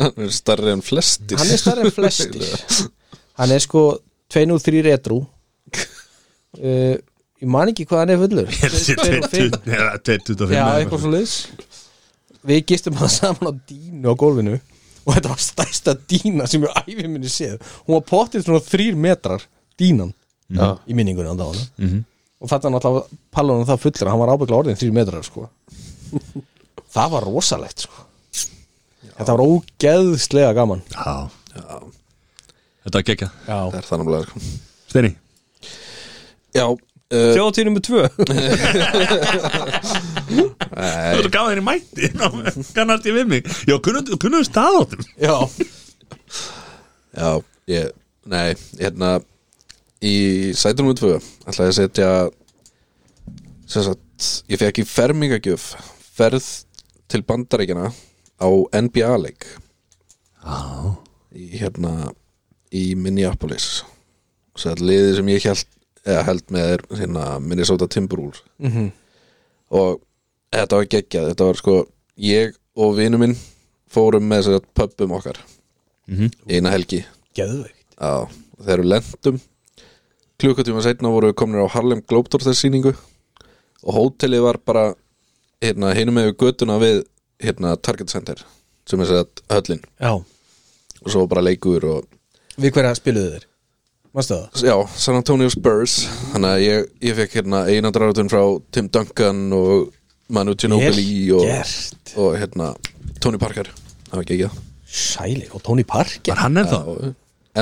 D: Hann er starri en flestir
B: hann er starri en flestir hann er sko 203 retrú uh, ég man ekki hvað hann er fullur
A: Þessi
B: Tveir og fimm.
A: 25
B: já, eitthvað svo liðs við gistum það saman á dínu á gólfinu og þetta var stærsta dína sem ég æfið minni séð hún var pottið svona þrýr metrar dínan í minningunni á dagana og þetta er náttúrulega pallunum það fullur hann var ábyggla orðin þrýr metrar sko. það var rosalegt sko. þetta var ógeðslega gaman
A: Já. Þetta var gekkja
B: já
D: (laughs) Það er það náttúrulega sko.
A: Steini,
D: Já uh,
B: Þjóðatíð nummer tvö
A: þú ert að gafa þér í mæti Kannast ég við mig Já, kunnum staðáttum
B: Já
D: (laughs) Já, ég, nei, hérna í sætunum við tvö ætla ég að setja sem sagt, ég fekk í fermingagjöf ferð til bandaríkjana á NBA-leik í hérna í Minneapolis sem sagt, liðið sem ég held, eða, held með er hérna, Minnesota Timberwolves og þetta var geggjað þetta var sko, ég og vinur minn fórum með þess að pöppum okkar í eina helgi
B: Geðveikt
D: Já, og þegar við lendum klukkutíma setna voru við komnir á Harlem Globetrotters sýningu og hótelið var bara hérna, hinum með göttuna við hérna, Target Center sem er sett höllin
B: Já
D: og svo bara leikur og
B: Við hverja spiluðu þeir? Manstu það?
D: já, San Antonio Spurs þannig að ég, ég fekk hérna eina drátun frá Tim Duncan og Manu Ginobili
B: Vel
D: og,
B: gert.
D: og hérna Tony Parker það var ekki ekki það
B: Sæli og Tony Parker
A: Var hann ennþá?
D: Já,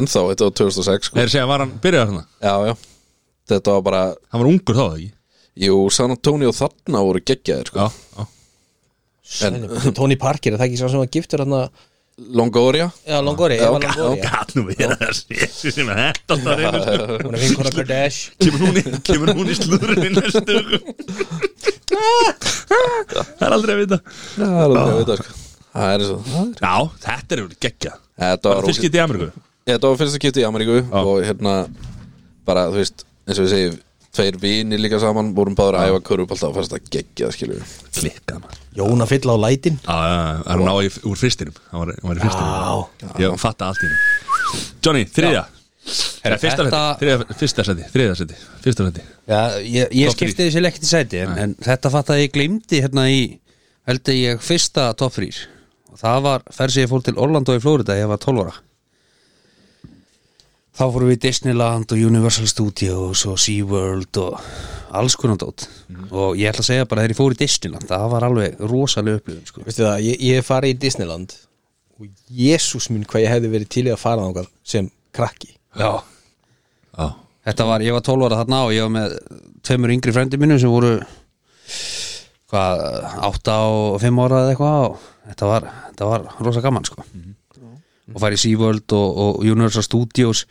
D: ennþá, þetta var 2006 sko.
A: Er að segja, var hann byrjað þarna?
D: já, já, þetta var bara
A: Hann var ungur þá, eða ekki?
D: jú, San Antonio þarna voru geggjaðir sko.
A: Já, já
D: En-
B: En, Tony Parker, er það ekki svo sem var giftur hann
D: Longoria
B: Já, Longori,
D: Já,
B: Eva
D: já,
B: Longori
A: Gat nú vera þessi þessi sem að þetta alltaf reynir sko.
B: Hún er vinkona Kardash
A: kemur, hún í- kemur hún í slúðurinn í næstu
B: (laughs)
A: viku? Það er aldrei að vita
D: Já, það er alveg að vita, sko. það er eins og það er-
A: Já, þetta er verið geggja
D: þetta var
A: Fyrst
D: ógeð-
A: getið í Ameríku
D: þetta var fyrsta skipti í Ameríku og hérna bara, þú veist, eins og við segjum tveir vini líka saman, vorum báður að æfa körfubólta og fannst það geggjað, skiljum
A: Klikkað maður
B: Jóna fyll á lætin
A: Já, já, já, það er ná í, úr fyrstinum Hann var, hann var í fyrstinum já. Ég fatta allt í hennu Johnny, þriðja Nei, Fyrsta seti,
C: þetta-
A: þriðja- fyrsta seti, þriðja seti Fyrsta seti
C: Já, ég, ég
A: Topp
C: skipti þessi lekkit í sæti en, en þetta fatt að ég glimti hérna í held að ég fyrsta top 3 og það var ferð sem ég fór til Orlando í Florida ég var 12 ára þá fórum við í Disneyland og Universal Studios og SeaWorld og alls konar dót og ég ætla að segja bara þegar ég fór í Disneyland það var alveg rosalega upplifun sko.
B: Veistu það, ég, ég hef farið í Disneyland og jésús minn hvað ég hefði verið til í að fara þangað sem krakki
C: já,
A: Já,
C: þetta var, ég var 12 ára þarna og ég var með tveimur yngri frendi mínum sem voru hvað, 8 og 5 ára eða eitthvað og þetta var, þetta var rosa gaman sko
B: Mhm.
C: og farið í SeaWorld og, og Universal Studios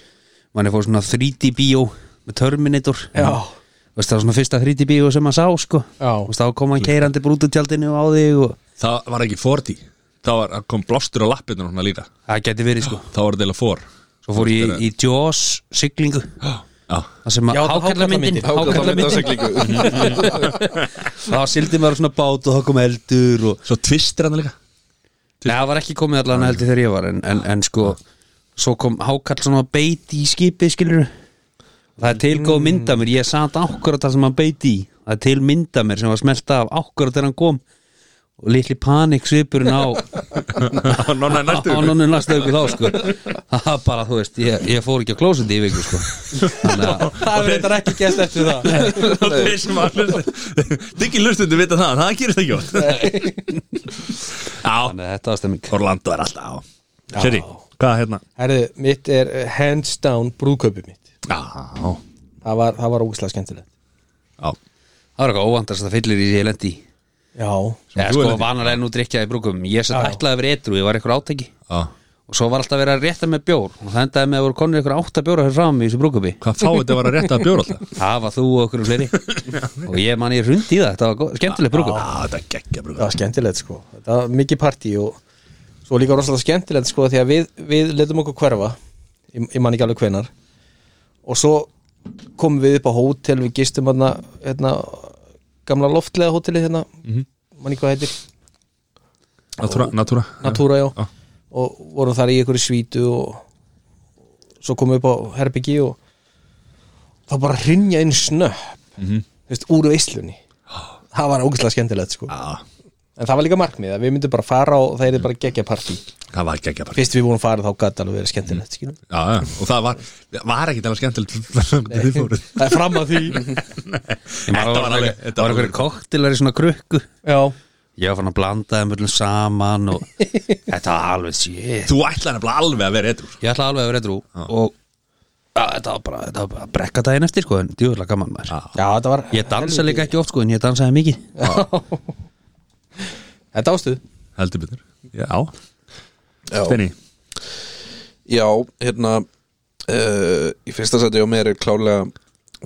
C: manni fór svona 3D bíó með Terminator
B: Já.
C: Veist, það var svona fyrsta 3D bíó sem maður sá sko
B: Já.
C: Veist, þá kom hann keirandi brútutjaldinu á þig og
A: það var ekki 40 Það var, það kom blástur á lappinu og svona líka
C: það geti verið sko
A: Það var deila fór
C: svo fór ég í, í Jaws siglingu
A: Já,
C: það sem að
B: Já, það var
C: hákallamyndin
D: Hákallamynd af siglingu
C: þá sildi maður á svona bát og þá kom eldur og
A: svo tvistir hann líka
C: Nei, það var ekki komið allan heldur þegar ég var en, en, en sko, svo kom hákall svona beit í skipið, skilur það er til góð mynda mér ég sat ákvörða það sem hann beit í það er til mynda mér sem var smelta af ákvörða þegar hann kom og litli panik svipurinn á
A: Nonna næstu
C: á (laughs) nonni (laughs) næstu auku þá sko það var bara, þú veist, ég, ég fór ekki að klósa þetta í viku sko þannig (laughs) að
B: Það hefur reyndar ekki gæst eftir það
A: og þeir sem að hlusta Diggi hlustundu vita það, en það gerist ekki oft Já,
C: þannig að þetta var stemming
A: Orlando er alltaf á Sherry, hvað hérna?
B: Herðu, mitt er uh, hands down brúðkaupið mitt
A: Já, já,
B: Það var, það var ógæslega skemmtilegt
C: það var eitthvað óvandast að fyllir í ég lendi í.
B: Já,
C: Já,
A: þú
C: sko,
A: hefur-
C: vanalega nú drikja í brúkum ég sem ætlaði að vera etru, ég var eitthvað átæki
A: já
C: og svo var alltaf verið að rétta með bjór og það endaði með að voru konir ykkur átta bjóra hér fram í þessu brúkupi
A: Hvað fá þetta var að rétta að bjóra alltaf?
C: það var þú og okkur og fleiri og ég man ég hrundi í það, þetta var góð- skemmtileg brúkup
A: Já, þetta er geggja
B: það var skemmtilegt sko Það var mikið partí og svo líka rosalega skemmtilegt sko því að við, við letum okkur hverfa ég, ég man ekki alveg hvenar og svo komum við upp á hótel við gistum hérna, hérna gamla loftlega hóteli hérna man ekki hvað heitir
A: Natúra, natúra
B: Natúra, já
A: Já.
B: og vorum þar í einhverju svítu og svo komum við upp á herbyggi og þá bara hrinja inn snöpp þú veist, úr veislunni það var ógæslega skemmtilegt sko
A: Já,
B: en það var líka markmið að við myndum bara fara og það er bara geggja partí
A: það var geggja bara
B: fyrst við vorum farið þá gæti alveg verið
C: Mm.
B: skemmtilegt skilum
A: Já, já, og það var, var ekki það var skemmtilegt Þið fóruð
B: það er fram að því
C: (laughs) það
A: Þetta
C: var alveg- það var einhverju koktilar í svona krukku
B: já,
C: ég var fann að blanda þeim öllum saman og þetta var alveg shit
A: Þú ætlaði nefnilega alveg að vera sko. eitthvað
C: ég ætlaði alveg að vera etru og ja, þetta var bara, þetta var bara brekka daginn eftir sko, en djúðlega gaman maður
B: já, þetta var
C: ég dansa líka ekki oft sko, en ég dansaði mikið
B: (laughs) þetta ástuð
A: Heldur betur Já,
D: Já.
A: Steini
D: Já, hérna uh, í fyrsta sæti á mér er klálega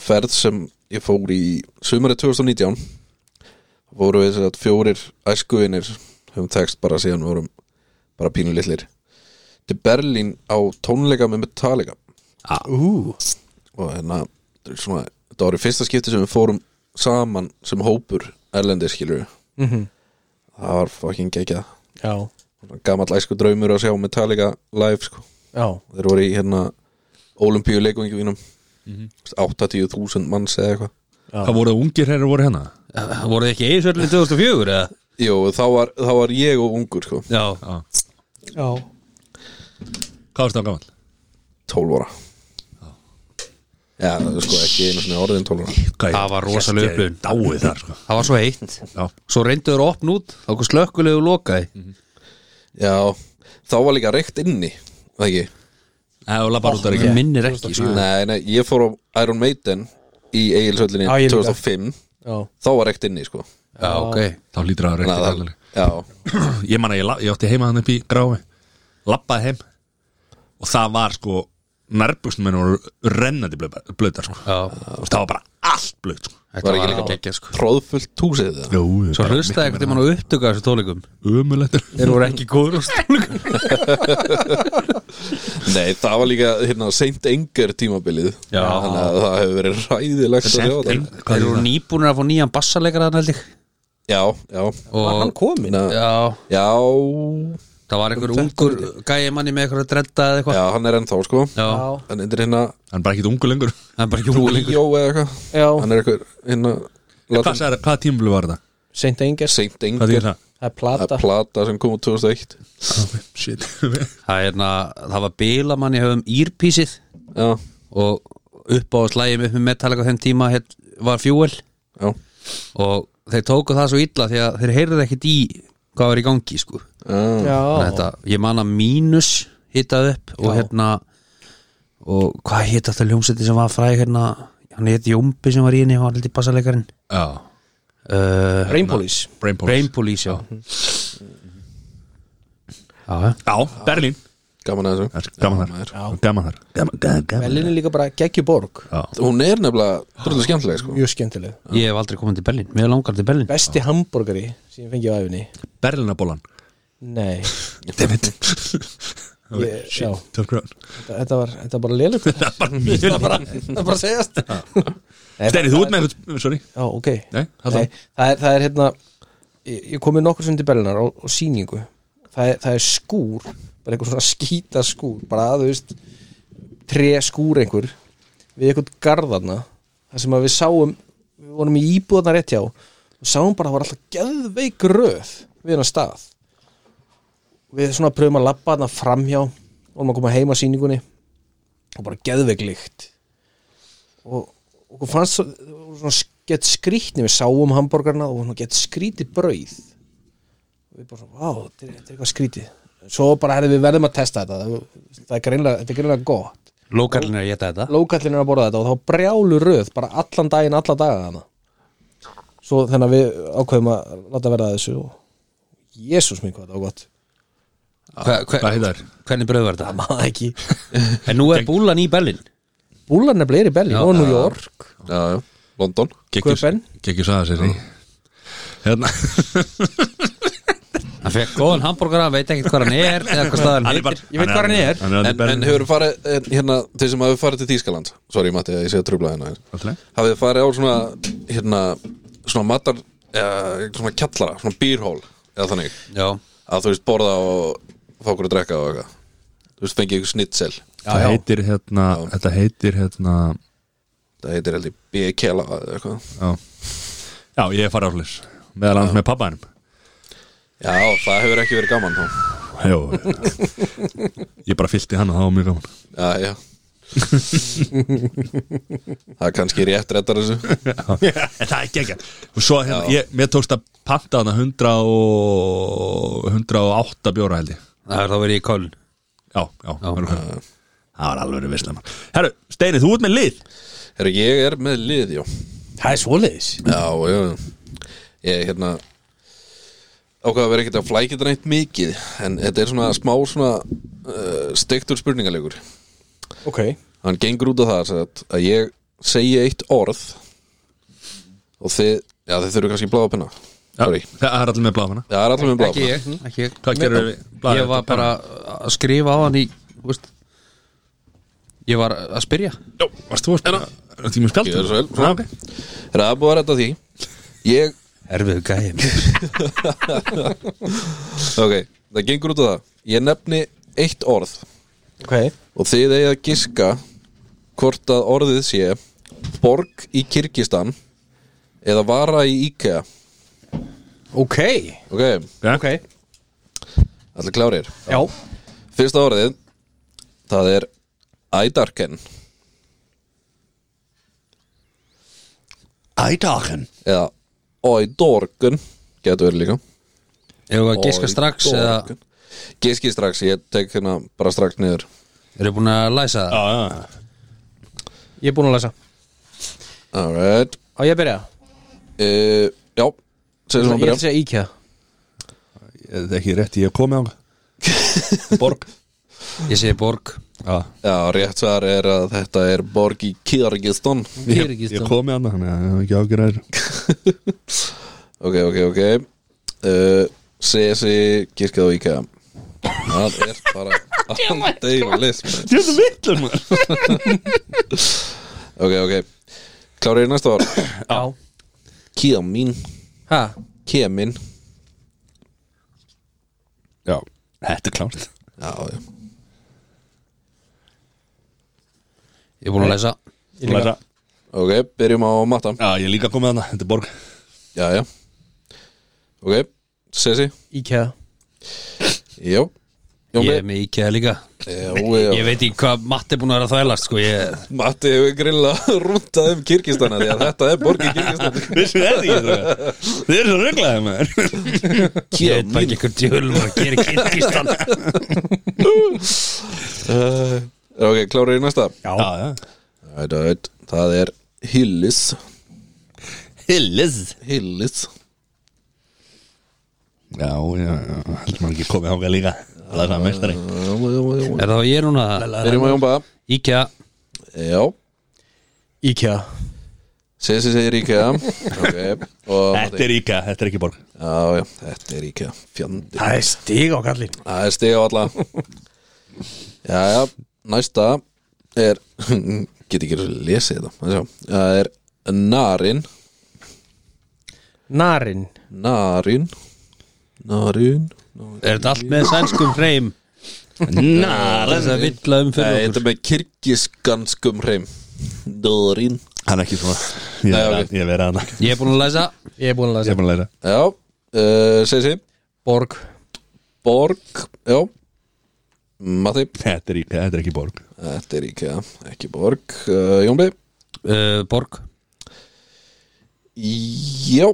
D: ferð sem ég fór í sumarið 2019 voru við sér að fjórir æskuvinir höfum tekst bara síðan við vorum bara pínu litlir til Berlín á tónleika með Metallica
A: Já.
D: og hérna þetta er svona, þetta voru fyrsta skipti sem við fórum saman sem hópur erlendir skilur það var fucking geggjað
B: já,
D: gamall æsku draumur að sjá Metallica live sko
B: já,
D: þeir voru í hérna olimpíu leikvingi mínum 80.000 manns eða eitthvað
A: Hvað voruð ungir herri voru hérna?
C: voruð þið ekki eigisverðin 2004 eða?
D: Jó, þá var, þá var ég og ungur sko,
C: já,
A: Já.
B: já.
A: Hvað varst það gaman?
D: 12 ára Já, það er sko ekki einu svona orðin 12 ára
C: Það var rosaleg upplifun.
A: Dáið þar sko
C: það var svo heitt
A: Já,
C: svo reynduður að opna út þá kom Mhm. slökkulegu og lokaði
D: Já, þá var líka reykt inni, það ekki
C: Nei, og labbar út að ekki Minnir ekki, sko
D: Nei, nei, ég fór á Iron Maiden í Egilshöllinni
B: Já, ég líka.
D: 2005
B: Já,
D: þá var ekkert inni, sko
C: Já, ok
A: Þá hlýtur að
D: Nei,
A: reynda
D: það-
A: alveg
D: Já,
A: Ég man að ég, la- ég átti heima hann upp í gráfi Lappaði heim Og það var sko Nærbuksnum minn voru rennandi blöð- blöðar sko.
C: Já,
A: Og það var bara allt blöð sko.
D: var
C: þetta var
D: ekki
C: ekki
D: líka bara-
C: ekki, sko
D: tróðfullt húsið það
C: Svo hlustaði ekkert um hann að upptöka þessu tólikum
A: Ömulegt
C: Þeir voru ekki góður á stólikum
D: Nei, það var líka hérna seint engar tímabilið
C: Já.
D: Þannig að það hefur verið ræðilegt að sjá það
A: Hvað er
C: Þeir voru nýbúnir að fá nýjan bassaleikara þannig held ég
D: Já, já
B: var hann
C: Og
B: komin?
D: Na,
C: Já,
D: Já,
C: það var einhver ungur gæi manni með eitthvað að dredda eða eitthvað
D: já, hann er ennþá sko
C: Já,
B: Já,
D: Hann er hérna
A: (laughs) Hann er bara ekkert ungu lengur
C: það er bara ekki ungur lengur
D: Ríó eða eitthvað
B: já,
D: Hann er eitthvað hérna
A: Hvað, sagði- hvað tímlu var það?
B: Saint Engers
D: Seint
A: Hvað
D: engar
A: þýðir það?
B: Það er
D: Það
B: plata
D: er plata sem kom úr 2001
A: Ah, Shit
C: Það er hérna, það var bila manni höfum írpísið
D: Já,
C: og upp á slægjum upp með Metallica á þeim tíma hér, var fjúel
D: já,
C: og þeir tóku það svo illa því að þeir heyrðu ekkert í hvað var í gangi sko
D: já
C: Þannig að
B: Já,
C: þetta, ég man að mínus hittað upp og hérna og hvað hitt þetta ljómsætti sem var fræg hérna, hann hitt Jómbi sem var í henni hann var held í bassaleikarin
A: (laughs) Já
C: uh,
B: Rainpolis
A: Brain Pulse
C: Brain Police, já Já, já
A: Já, Berlín
D: Gaman að þessu
A: Gaman þar Gaman þar Gaman, gaman, gaman
B: Berlin er líka bara geggjuborg
D: Hún er nefnilega dröldu skemmtileg sko
B: Mjög skemmtileg
C: Ég hef aldrei komið til Berlín, mér langar til Berlín
B: Besti hambúrgari sem ég fengi á æfinni
A: Berlínabólan
B: Nei,
A: (laughs) Dammit
B: ég, já,
A: Töf grön
B: þetta- þetta var, þetta var bara lélegt
A: Það er bara mjög
B: Það bara, það bara segjast
A: Steini, þú ert með eitthvað Sorry
B: Já, ok
A: Nei, halda
B: Nei, það, er, það er hérna Ég, ég komið nokkur sem til Berlinar og, og sýningu það er, það er skúr bara einhver svona skýta skúr bara að þú veist tre skúr einhver við einhvern garðarna þar sem að við sáum við vorum í íbúðarna rétt hjá og sáum bara að það var alltaf geðveik röð við hennar stað við svona pröfum að labba þarna framhjá vorum að koma heim að sýningunni og bara geðveik lykt og okkur fannst svo- það voru svona gett skrítni við sáum hambúrgarna og svona gett skrítið brauð og við bara svona, vá, þetta er, þetta er eitthvað skrítið svo bara herri, við verðum að testa þetta það, það er greinlega, þetta er greinlega gott
C: Lókarlinn er að geta þetta
B: lókallin er að borða þetta og þá brjálu röð bara allan daginn, alla daga hana svo þannig að við ákveðum að láta verða að þessu og jésús minn hvað þetta var gott
C: hva, hva,
A: Hvað heitar?
C: Hvernig bröð var
B: það
C: þetta?
B: maður ekki
C: (laughs) En nú er búlan í Berlín
B: búlan er bleiri belli, og New York
D: Já, já, London
B: Köpen.
A: Gekki saða sér því Hérna
C: Hann fekk góðan hambúrgara, veit ekkert hvað hann er eða hvað staðan
A: Hann er
C: heitir
A: bara-
B: ég veit hvað hann er
A: Hann er
D: En, en hefur farið, en, hérna, þeir sem hafið farið til Þýskaland Sorry Matti, að ég sé að trubla hérna aðeins.
A: Alltaf
D: Hafið farið á svona, hérna, svona matar eh, Svona kjallara, svona bírhól Eða þannig,
C: Já,
D: að þú veist borða og Fá okkur að drekka og eitthvað Þú veist, fengið ykkur snitsel
A: Það heitir hérna Þetta heitir hérna
D: Það heitir heldur B-kela eða eitthvað
A: Já Já, ég er farið á hlis Meðal annars með pabbanum
D: Já, það hefur ekki verið gaman þá
A: Jó Ég bara fyllti hann og það var mjög gaman
D: Já, já Það er kannski rétt rettar þessu
A: en það er geggjað og svo hérna, ég, mér tókst að panta hana 100 og 108 bjóra held ég
C: það er þá verið í Köln
A: já, já, það var hvað. það var alveg visslema herru, Steini, þú ert með lið
D: Herra, ég er með lið, já
B: það er svoleiðis
D: Já, já Ég, hérna Ákvað að vera ekkert að flækja þetta neitt mikið En þetta er svona smá svona uh, Stektur spurningalegur
B: ok,
D: Hann gengur út á það sem sagt, að ég segi eitt orð Og þið Já, þið þurfum kannski bláða penna Sorry.
A: já, það er allir með bláfana
D: Það er allir með
C: Ekki
D: bláða
C: ég, hm, ekki ég
A: Hvað gerðirðu við blaðið?
C: Ég var bara að skrifa á hann í þú veist, Ég var að spyrja
A: já, varst þú að spila Er tímum spjald?
D: Gjörðu svo vel.
A: Já, ok.
D: Það er búið að retta því Ég
C: Erfið gæðin
D: Ok, það gengur út á það Ég nefni eitt orð
B: ok
D: Og þið eigið að giska Hvort að orðið sé Borg í Kyrkistan Eða vara í IKEA
B: ok,
D: Ok,
A: Ok.
D: allir klárir
B: já,
D: Fyrsta orðið Það er Ædarken
A: Ædagen
D: Eða Ædorken Getur verið líka
C: Ef við að giska strax eða
D: Ædorgen. Giskið strax, ég tek hérna bara strax niður
C: Eru búin að læsa það?
A: já,
B: Ég er búin að lesa
D: Alright
B: Á ég að byrja?
D: uh, Já, segir svona
B: Ég
D: að
B: ætla
D: byrja
B: að segja IKEA
A: Það er ekki rétt, ég hef komið á (laughs) Borg
C: Ég segi borg
A: Já,
D: Já, rétt svar er að þetta er borg í Kyrgyzstan
A: ég, ég komið annað þannig að ég hef ekki ágjur að þessu
D: Ok, ok, ok uh, CSI kirkjað og IKEA Það er bara Andeigur list maður.
A: Þetta er vittlum maður
D: (laughs) Ok, ok Klárið næsta ár
B: Já
D: Kia mín
B: Ha?
D: Kia mín
A: Já, þetta er klárt
D: Já, já
C: Ég er búin að læsa
B: Ég líka.
A: Læsa.
D: Ok, byrjum á matta
A: Já, ég er líka komið annað, þetta er Borg
D: Já, já Ok, CSI
B: IKEA
D: Já Jón
C: Ég
D: Björn
C: er með IKEA líka
D: Já,
C: Ég
D: já
C: veit ekki hvað Matti er búin að vera að þvælast sko. ég,
D: Matti hefur grilla rúntað um Kyrkistana því að þetta er borg í Kyrkistana
A: Vissu þetta ekki þetta Þið eru svo reglaðið maður
C: ég veit bara ekki hvern djöl var að gera kirkistan
D: uh, Ok, klárið í næsta
A: Já, já
D: Æt, æt, Það er Hillis
A: Hillis
D: Hillis
A: Já, já, já, heldur maður ekki komið ágjur líka Það er það meistari
D: Já, já, já, já.
C: Er það ég núna?
D: Byrjum á Jón Bá
C: IKEA
D: Já
B: IKEA
D: CSI segir
B: (laughs)
D: IKEA Ok og Matti.
A: Þetta er íka, þetta er ekki Borg
D: Já, já, þetta er IKEA Fjandi
B: Það er stig á kallin
D: Það er stig á alla Já, já, næsta er (laughs) Get ekki að lesa þetta Það sjá. Það er Narin
B: Narin
D: Narin Narin
C: Er þetta allt með sænskum hreim?
A: Næ,
C: Það er að villa um
D: Nei,
C: fyrir
D: þetta
C: okkur
D: er með kirkisganskum hreim Narin
A: hann er ekki svona Ég
D: Nei,
A: er-
D: ok.
A: ég er verið að hann
C: Ég er búin að læsa
B: Ég er búin að
A: Ég
B: lesa
A: er búin að læra
D: Já, uh, segi sig
B: Borg
D: Borg, já Matti,
A: Þetta er íka, þetta er ekki Borg
D: þetta er IKEA, ekki Borg uh, Jónbi,
C: uh, Borg
D: já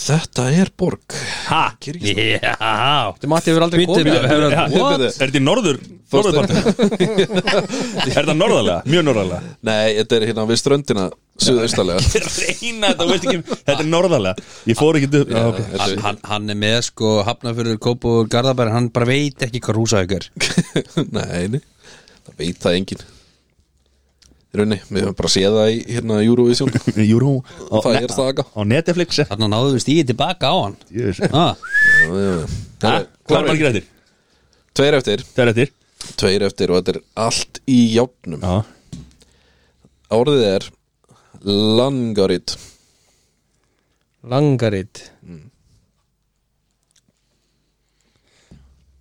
D: Þetta er Borg
A: Ha?
C: Já
B: Þetta Matti hefur aldrei
C: Býttu,
B: komið
C: hefur hann
A: Er þetta í norður? Norðurpartin? er þetta norðarlega? Mjög norðarlega
D: Nei, þetta er hérna við ströndina Suðaustalega
A: Reina þetta, veist ekki Þetta er norðarlega Ég fór ekki upp Já, (laughs) ok
C: hann, hann, hann er með sko hafnafyrir Kópu og Garðabæri, hann bara veit ekki hvað húsavík er
D: (laughs) Nei, nei, það veit það engin Runni, við höfum bara séð það í hérna Eurovision
A: Júrú
D: Það er staka.
A: Á Netflix
C: Þannig að náðu við stíði tilbaka á hann
A: Jöfus.
C: ah,
A: Ha?
D: Herru,
A: Hvað er margir eftir?
D: Tveir eftir,
A: Það er eftir
D: tveir eftir og þetta er allt í játnum
A: Já
D: Árið er Langarit
B: Langarit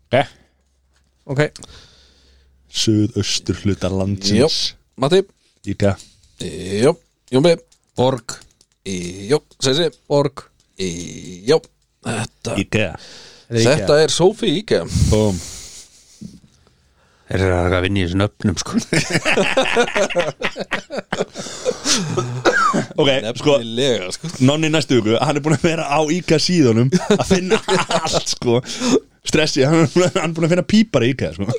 A: Ok
B: Ok
A: Suðaustur hluta
D: Jó,
A: landsins
D: Matti
A: Íka
D: Jó, Jónbi
C: Borg
D: Jó, Sessi
B: Borg
D: Jó, þetta
A: Íka
B: Þetta er
D: Þetta er Sophie Ike
A: Bóm
C: Er það að vinna í þessum öfnum sko
A: Ok, sko
D: Nefnilega, sko
A: Nonni næstu viku Hann er búin að vera á Íka síðunum Að finna (laughs) allt, sko Stressi Hann er búin að- hann er búin að finna pípar í Íka, sko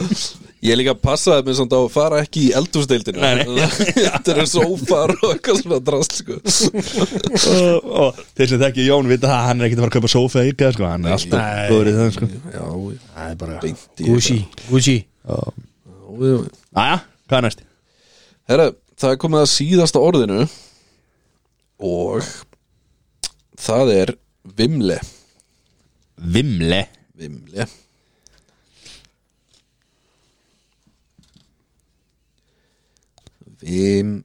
D: Ég líka passaði mig samt á að fara ekki í eldhúsdeildinu
A: Nei, nei.
D: (laughs) Þetta eru sófar og eitthvað svona drast
A: (laughs)
D: sko.
A: og, og þeir sem þekki Jón vita það að hann er ekkert að fara að kaupa sófa í Íka, sko Hann er alltaf góður í það, sko
D: Já,
A: Það er bara
D: beint í
B: Gucci Gucci
D: Herra,
A: Æja, hvað er næst?
D: það er komið að síðasta orðinu Og Það er Vimle
A: Vimle
D: Vimle Vim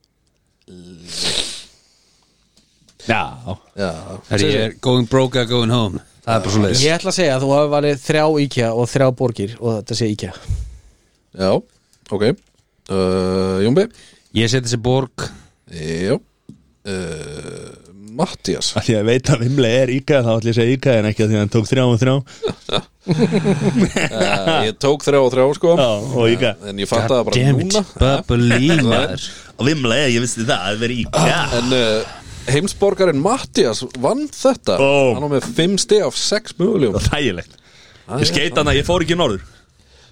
A: Já
D: Já,
C: Er ég er going broke or going home Það er bara svo leiðis
B: Ég ætla að segja að þú hafi valið þrjá IKEA og þrjá borgir og þetta sé IKEA
D: já, ok uh, Júmbi
C: Ég seti þessi Borg
D: Já uh, Mattias
A: (laughs) Því að ég veit að Vimle er Íka þá ætlum ég að segja Íka en ekki að því að hann tók þrjá og þrjá
D: uh, Ég tók þrjá og þrjá sko
A: Ah. Já, og Íka
D: En ég fatt það bara
C: Damn it,
D: núna (laughs)
C: bubbly maður
A: Og Vimle, ég vissi það, það verið Íka
D: En uh, heimsborgarinn Mattias vann þetta
A: Ó.
D: Hann var með 5 stið af 6 mögulegum
A: Þægilegt Ég skeit hann að ég fór ekki norður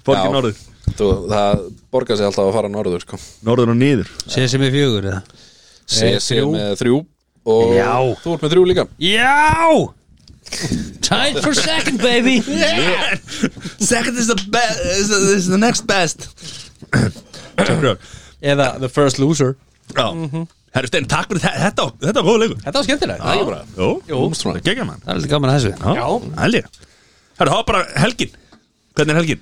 A: Fólki
D: Já.
A: norður,
D: Þú, það borgar sig alltaf að fara norður sko.
A: norður og niður
C: Sér sem er fjögur eða
D: CC E með þrjú og
C: Já.
D: þú ert með þrjú líka
C: Já Tied for second baby yeah.
A: Eh! Second is the, best, is the, is the next best Sjálfrjóð
B: Eða the first loser
A: Já, herru Steini, Mhm. takk fyrir þetta Þetta, var- þetta var góð leikur
B: Þetta var skemmtilega
A: Já, Jú,
D: Armstrong.
A: það gegja mann
C: Það er litið gaman að þessu
A: Já, helgi Herru, það var bara helgin Hvernig er helgin?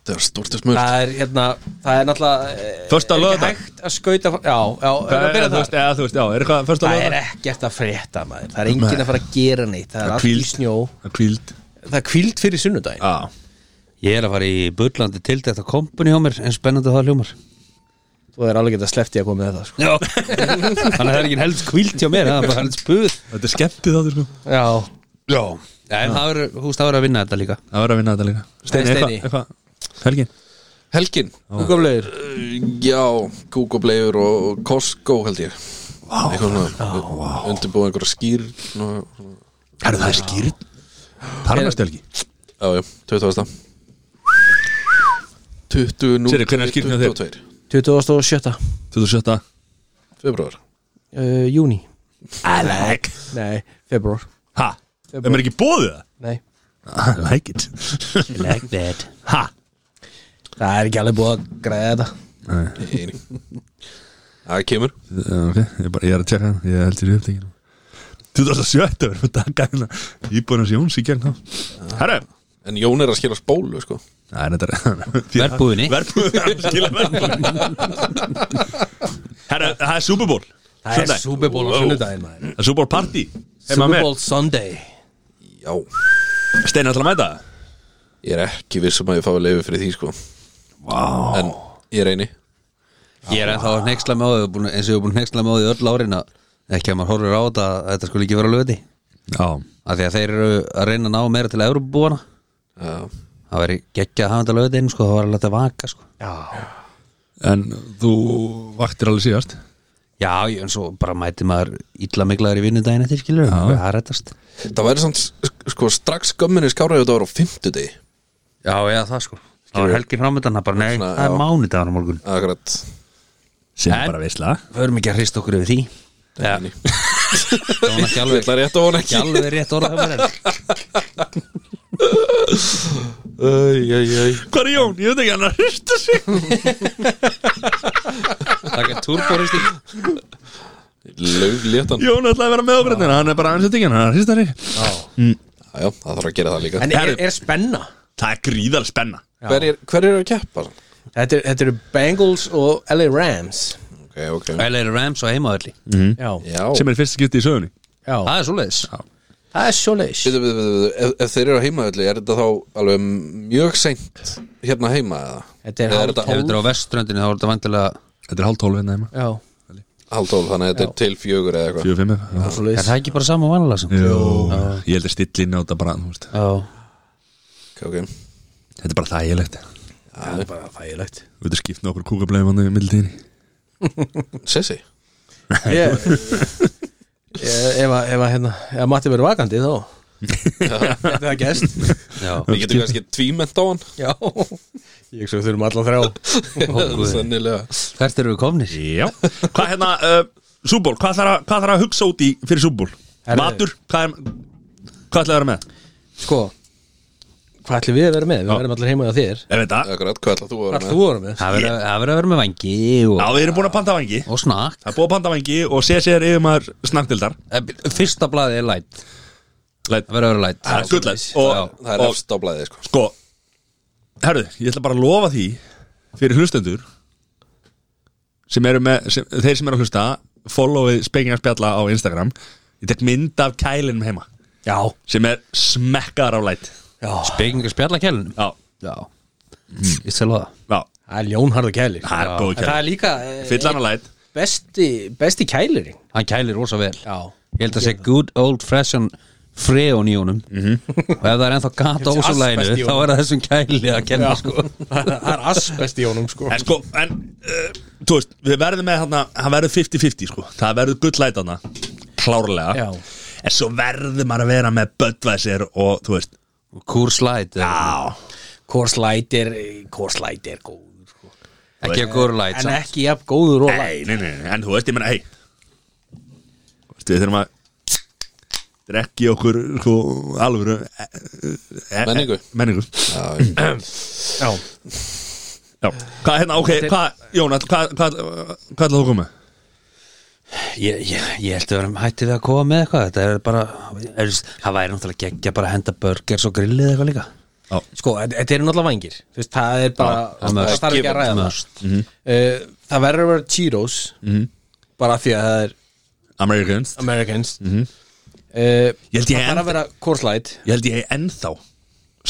D: Það er stortist mörg
B: Það er hérna Það er náttúrulega eh,
A: Fösta
B: er
A: lögða
B: ekki hægt að skauta fram- Já, já, erum við að byrja
A: þú veist,
B: þar?
A: eða, þú veist, já, er eitthvað fyrst að
B: Það er
A: lögða?
B: ekkert að frétta maður Það er enginn að fara að gera neitt Það er allt í snjó
A: Það er kvíld
B: Það er kvíld fyrir sunnudaginn
A: Já,
C: Ég er að fara í bullandi til þetta kompani hjá mér En spennandi það hljómar
B: Þú er alveg getað sleppt í að koma með þetta sko.
C: Já Þannig að það er ekki helst kvílt hjá mér Það er bara helst buð
A: þetta er skemmtið á þér sko
B: Já
C: Já en það verður, þú veist, það verður að vinna þetta líka
A: Það var að vinna þetta líka Steini,
B: Steini.
A: eitthvað eitthvað- Helgin
D: Helgin Eh,
B: Húkamlegur
D: Já, kúkoblegur og Costco held ég Vá, svona, wow. Undirbúið einhverja skýr svona-
A: Herru, það er skýrt Parmastelgi
D: Já, já, 20. 20 nú
A: Sérri, hvenær er skírn hjá þér?
D: 22.
B: 27.
A: 2017
D: Febrúar
B: Uh, júni
A: I like
B: Nei, februar
A: Ha, er maður ekki bóðið það?
B: Nei
A: I like it
C: Like that
A: Ha
B: Það er ekki alveg búið að græða þetta
D: Eining. Það kemur
A: Já, Eh, ok, ég, bara, ég er að tjekka það, ég held þér í upptekinu 2017 verðum við að gæna íbúinans Jóns í gegn þá Herra,
D: En Jón er að skila spólu sko
A: það er
B: (laughs)
A: þetta
C: Verbúðinni.
A: Verbúðinni, skilja verbúðinni Herra, það er Super Bowl
B: Það er
A: Sunday.
B: Super Bowl á
A: Wow.
B: sunnudaginn maður.
A: Það er Super Bowl party Heima
B: Super
A: með.
B: Bowl Sunday
D: Já,
A: Steina ætla að mæta það?
D: ég er ekki viss um að ég fái leiði fyrir því sko
A: Vá
D: En ég reyni
C: Ég er ennþá að hneiksla með á því búin- eins og ég er búin að hneiksla með á því öll árin að ekki að maður horfir á þetta að þetta skulle ekki vera löti
A: Já,
C: af því að þeir eru að reyna að ná meira til Európabúana
D: Já,
C: það væri geggja að hafa þetta löti inn sko, það var alveg að vaka sko.
B: Já
A: en þú vaktir alveg síðast
C: já, ég- en svo bara mæti maður illa miklaður í vinnu daginn eftir skilur já. það er réttast
D: Það væri samt sk- sko strax gömminni skáraði þetta var á fimmtudegi
C: já, já, það sko það var helgin framöndan, það bara nei,
D: Svona,
C: það
D: já.
C: er mánudagur á morgun
D: Akkurat
A: Sem
C: En-
A: bara veisla
C: förum ekki að hrista okkur yfir því já,
D: Nei.
C: það var ekki
D: Ég
C: alveg,
D: ætla rétt á hún
C: ekki
D: ekki
C: alveg rétt orðað með þetta
D: Æj, æj, æj
A: Hvað er Jón? Ég veit ekki hann er að hrista sig
C: það er túrbóristi
D: Laug léttan
A: Jón ætla að vera með okkur hérna, Hann er bara ansötingin, hann er að hrista sig
D: Já, já, það þarf að gera það líka
B: En er, er spenna
A: Það er gríðal spenna
D: Hverjir hver eru að keppa?
B: Þetta er- þetta eru Bengals og LA Rams
D: Ok, ok
C: L.A. Rams og heimaðalli
B: Hmm? Já
D: Já
A: sem er fyrst skipti í sögunni
B: Já
C: það er svoleiðis
B: Það er svo leis
D: Bíddu, bíddu, bíddu, bíddu. Ef, ef þeir eru á heimaðalli, er þetta þá alveg mjög seint hérna heima eða?
B: Þetta er
D: Eða
B: hálf
C: ef
D: þetta
C: þetta er á veströndinu þá er þetta vantilega
A: Þetta er hálf tólf hérna heima
B: Já
D: hálf tól, þannig að þetta er til fjögur eða eitthvað
A: Fjögur fimm eitthvað
B: Svo
C: Er
B: leis
C: það ekki bara saman vanlega samt?
A: Jó, ég held að stillin á þetta bara þú veist.
C: Já
D: okay, ok.
A: Þetta er bara þægilegt
B: Það er bara (laughs) þægilegt
A: Við veitum skipt nokkur kúkablaði manni í mildtíðinni
D: Sessi,
B: Ég ég- Ef að ef að hérna Ef að Matti verður vakandi (laughs) þá Þetta er að gest
C: Já
D: við getum kannski tvímend á hann
B: Já Ég svo þurfum alla þrjá
D: (laughs) Sennilega
C: Hvert eru við komnir?
A: Já Hvað hérna, uh, súból, hvað þarf að, hvað þarf að hugsa út í fyrir súból?
B: Herðu.
A: Matur, hvað er Hvað ætlaði að vera með?
B: Sko Hvað ætlum við að vera með? Við
A: Já.
B: verðum allir heima á þér
A: Ég veit það
D: Akkurat, hvað ætla þú að
B: Hvað
D: vera
B: ætlum
D: með?
B: þú að vera með?
C: Það verður það verður að vera með vangi
A: Já,
C: og,
A: við erum búin að panta vangi
C: og snakk
A: Það er búið að panta vangi og sé sér yfir maður snakkdildar
C: Eh, Fyrsta blaði er light
A: Læt
C: Það verður að vera light
A: Það er gullæt
C: Já.
A: Og,
D: Það er
A: og
D: efst á blæði sko.
A: sko Herðu, ég ætla bara að lofa því fyrir hlustendur sem eru með, sem, þeir sem eru að hlusta followið Spekingar spjalla á Instagram ég tek mynd af kælinum heima
B: Já
A: sem er smekkaðar á læt
B: Já
C: Spekingar spjalla kælunum
A: Já,
C: Já Mm, Ég stel það
A: já,
B: Það er ljónharðu kælir
A: það er góð
B: En það
A: kæl
B: er líka
C: eh,
A: Fylla hann á læt
B: besti, besti kælirinn
C: Hann kælir rosa vel
B: Já
C: Ég held að sé good old fashion freon í honum Og ef það Mhm. er ennþá gata
B: Ég held að sé asbest í
C: ósulæginu Þá
B: honum.
C: er það þessum kæli að kenna sko
B: (laughs) Það er asbest í honum sko
A: En sko, en, uh, þú veist, við verðum með hann hann verður 50-50 sko, það verður gullæt hann klárlega
B: Já.
A: En svo verður maður að vera með Böttvæsir og, þú veist,
C: Kúrslæt
A: já
B: Kors Light er Kors Light er góður sko.
C: Ekki að góður læt
B: En
C: samt.
B: ekki jafn góður og light
A: Nei, nei, nei, nei, en þú veist, ég menna, hei Þú veist, við þurfum að drekki okkur, sko, alvöru e, e,
D: Menningu.
A: e, Menningu
D: Já,
B: (clears throat) Já
A: Já, hvað, hérna, ok, hvað, Jónat, hvað, hvað, hvað ætlaðu að koma?
C: Ég, ég, ég held að vera hætti við að koma með eitthvað Þetta er bara, er, það væri náttúrulega geggja bara að henda burgers og grillið eða eitthvað líka
B: Sko, þetta- þetta eru náttúrulega vangir Þú veist, Það er bara,
C: það
B: það
C: must.
B: þarf ekki að ræða það
C: Must. Mhm.
B: Uh, Það verður að vera Cheetos Bara af því að það er
A: Americans
B: Americans
C: Mhm.
B: Uh,
A: Ég held ég
B: Það þarf að
A: ennþá-
B: vera Kors Light
A: Ég held ég ennþá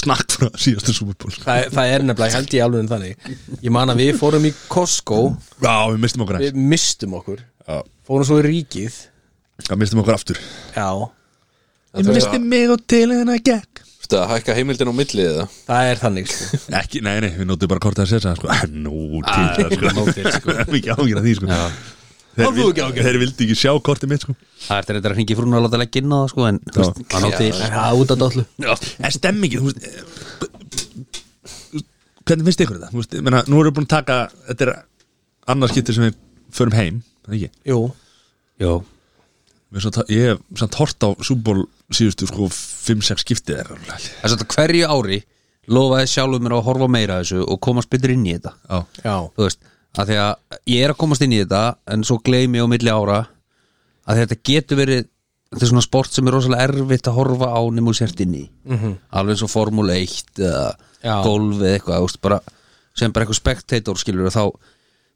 A: snakkt frá síðastu Superból Já,
B: það, það er nefnilega, ég held ég alveg en þannig Ég man að við fórum í Costco
A: við mistum okkur
B: Við mistum okkur
A: Já.
B: Fórum svo í ríkið
A: Það mistum okkur aftur
B: Já,
A: Ég misti mig og til hennar gekk
D: Veistu að hækka heimildin á milli eða
B: það er þannig sko.
A: Ekki, nei, nei, við nótum bara kortið að setja sko. (laughs) Ah, Nú, til það, sko
C: nóg til,
A: (laughs)
C: sko.
A: Við erum ekki ágjur að því, sko Þeir,
B: Hafðu
A: vil,
B: ekki áhyggjur?
A: þeir vildi ekki sjá kortið mitt, sko
C: Það er þetta að hringi frún og láta leggja inn á það sko En þú veist, það ná til
B: Það er út af dollu
A: En stemmingin, þú veist eh, Hvernig finnst ykkur þetta? Þú veist, ég meina, nú erum við búin að taka Þetta er annarskipti sem við förum heim Það ekki
B: Jú,
C: Jó,
A: Við erum samt- Ég hef samt hort á Súból síðustu sko 5-6 skiptið er alveg
C: það er þetta hverju ári Lofaði sjálfur mér að horfa meira að þessu Og komast betur inn í þetta
A: Já,
B: já,
C: Þú veist, að því að ég er að komast inn í þetta En svo gleymi ég á milli ára Að þetta getur verið Þetta er svona sport sem er rosalega erfitt að horfa á Nefnum sért inn í -hmm. Alveg eins og Formule 1 eða
B: Mhm. Já.
C: Golf eða eitthvað, þú veist, bara Sem bara eitthvað spektator skilur þá,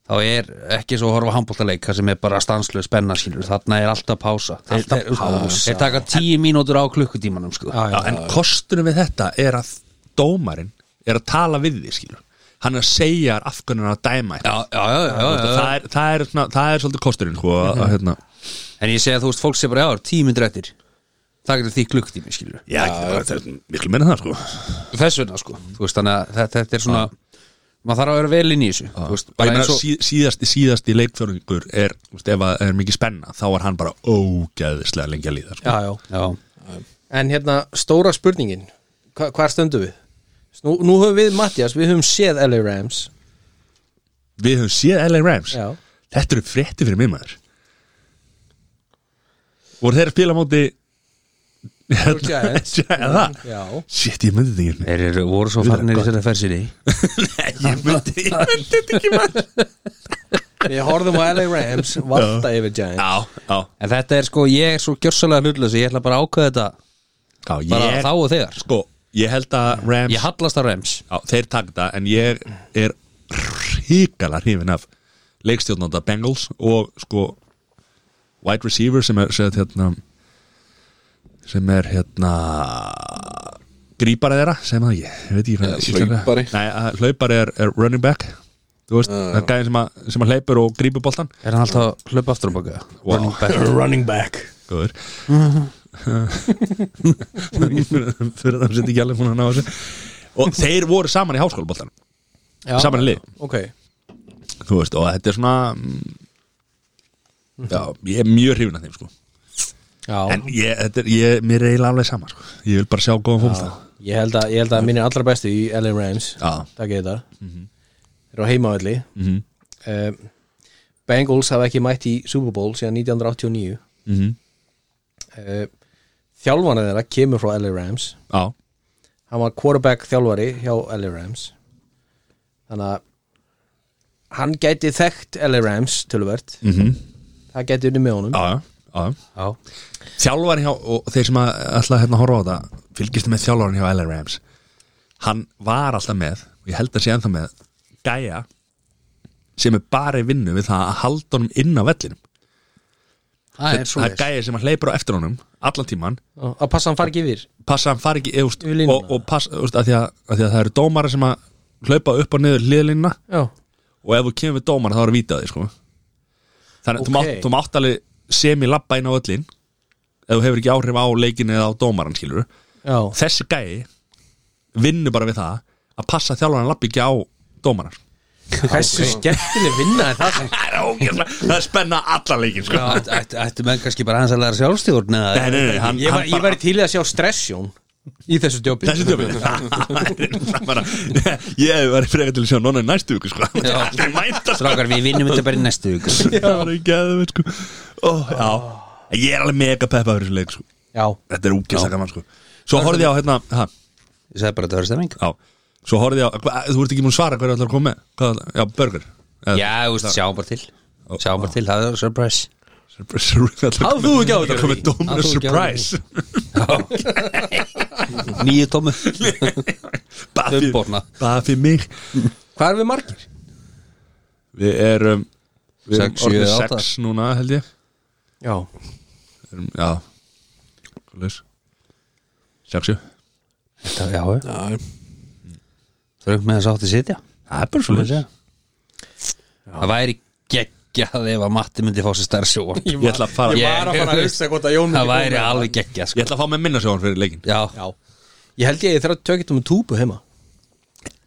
C: þá er ekki svo að horfa handbóltaleik sem er bara stanslega spenna skilur Þarna er alltaf pása Þeir,
B: Alltaf
C: þeir,
B: pása.
C: þeir taka tíu mínútur á klukkutímanum sko.
B: já, já.
A: já, en kostunum við þetta er að dómarinn er að tala við því skilur hann er að segja af hvernig hann er að dæma já,
C: já, já, já, já, já.
A: Það, er, það, er, svona, það er svolítið kosturinn sko, að, að, hérna,
C: En ég segi að þú veist, fólk sé bara já, tíu mínútur eftir Það getur því klukkutími skilur
A: já, já, bara, það er miklu meina það sko.
C: þess vegna sko þú veist þannig að þetta, þetta er svona maður þarf að vera vel inn í þessu þú veist,
A: Ég
C: bara
A: meina,
C: eins og
A: sí, síðasti, síðasti leikfjörningur er, þú veist, ef það er mikið spenna þá er hann bara ógeðislega lengi að líða sko.
B: já, já
C: já,
B: En hérna, stóra spurningin hva, Hvar stöndum við? Nú, nú höfum við, Mattias, við höfum séð LA Rams
A: við höfum séð LA Rams
B: Já.
A: þetta eru frétti fyrir mig maður voru þeir að spila á móti (laughs)
B: Giants.
A: hérna,
B: Já,
A: shit, ég myndi þetta ekki
C: þeir eru, voru svo farnir í þetta fersinni
A: (laughs) ég myndi, ég myndi þetta ekki maður
B: við horfum á LA Rams Valta yfir Giants
A: Já, já,
C: en þetta er sko, ég er svo gjörsalega hlutlösi ég ætla bara að ákveða þetta
A: já ég,
C: bara þá og þegar
A: Sko, ég held að Rams
C: ég hallast að rems
A: já, Þeir taka þetta en ég er ríkala hrifin af leikstjórnanda Bengals og sko wide receiver sem er sem er, hérna, sem er hérna grípari þeirra sem að ég, ég veit ekki hvað
D: Eða
A: íslenska-
D: hlaupari.
A: Nei, að hlaupari er, er running back Þú veist, það er gæðin sem að, sem að hleypur og grípur boltan
C: er hann alltaf að hlaupa aftur um baka
A: Wow.
C: running back
B: Running back
A: Góður (laughs) Fyrir það sitt ekki alveg hún að ná þessu Og þeir voru saman í háskólaboltan
B: já.
A: Saman í lið,
B: Ok,
A: þú veist Og þetta er svona mm, Já, ég er mjög hrifin að þeim sko
B: já
A: En ég, þetta er, ég, mér er eiginlega alveg sama sko Ég vil bara sjá góðan fólk það
B: Ég held að, ég held að minni allra bestu í LA Rams
A: Já. mhm,
B: Takk ég þetta
C: Mhm.
B: Þeir eru á heimavalli um, Bengals hafa ekki mætt í Super Bowl síðan 1989
A: mm
B: uh, Þjálfana þeirra kemur frá LA Rams
A: Já,
B: Hann var quarterback þjálfari hjá LA Rams Þannig að Hann gæti þekkt LA Rams tölvöld
A: mm
B: Það gæti unni með honum
A: já, já, já
C: já,
A: Þjálfari hjá, og þeir sem að ætla hérna að horfa á þetta Fylgist með þjálfarin hjá LR Rams Hann var alltaf með og Ég held að sé ennþá með Gæja sem er bara í vinnu við það að halda honum inn á vellinum
C: það er
A: það
C: svo
A: er gæja sem hann hleypur á eftir honum allan tíman,
B: Að passa hann fari ekki yfir
A: passa að hann fari ekki eðust,
B: Yfir línuna.
A: og, og passa, þú veist, að því að, að því að það eru dómara sem að hlaupa upp og niður hliðlinna
B: Já,
A: og ef þú kemur við dómara þá er að víta því sko. þannig að þú, mátt,
B: Ok.
A: þú mátt alveg semi labba inn á öllin ef þú hefur ekki áhrif á leikin eða á dómaran skilur
B: já,
A: þessi gæi vinnur bara við það að passa þjálfarinn lappi ekki á dómarar
B: hversu skemmtileg vinna er það sem
A: það er ógæmlega, það er spenna alla leikin sko.
C: Ættu- ættu ættu menn kannski bara hans að læra sjálfstjórn eða
A: nei, nei, nei, hann,
B: Ég var,
A: hann
B: ég var til í að sjá stressjón Í þessu djópi
A: Þessi
B: (laughs)
A: döfum bara, (laughs) Ég var frekar til að sjá nonna í næstu viku sko. Allir mæta sko.
C: Strákar, við vinnum þetta bara í næstu viku
A: (laughs) Það var ekki að það sko. Ó, Já Ég er alveg mega peppa fyrir þessu leik sko.
B: Já,
A: Þetta er úkjast að gaman sko. Svo horfði ég á hérna ha,
C: Ég sagði bara að það var stemming
A: á. Svo horfði ég á hva, Þú ert ekki múin að svara hverju ætlar að koma með Hvað, ætlar- Já, burger Eða-
C: Já, þú veist, sjáum bara til Sjáum bara til, það er surprise
A: Hafðu
C: Hafðu þú ekki á þetta?
A: Það komið
C: Hafðu
A: Dominus
C: þú ekki á (laughs)
A: Surprise
C: Nýju tómu
A: Bara fyrir-
C: Umborna.
A: Bara fyrir mig
B: hvað erum við margir?
A: Við erum Við erum
C: Sex, sjö,
A: orðið
C: átta.
A: sex núna held ég
B: Já,
A: Við erum, Já Leis. Sex, sjö
C: Já, já Þröfum með þess átti sitja
A: Það er bara svo leis Ég
C: Það væri geggjað ef að Matti myndi fá sér stærra sjóan
A: Ég ætla að fara-
B: Ég var að fara að hugsa hvort að Jón
C: Það
B: myndi
C: væri
B: koma.
C: alveg geggjað sko.
A: ætla að fá með minna sjóðan fyrir leikin
C: Já,
B: Já, ég held ég að ég þarf að tökja þetta með túbu heima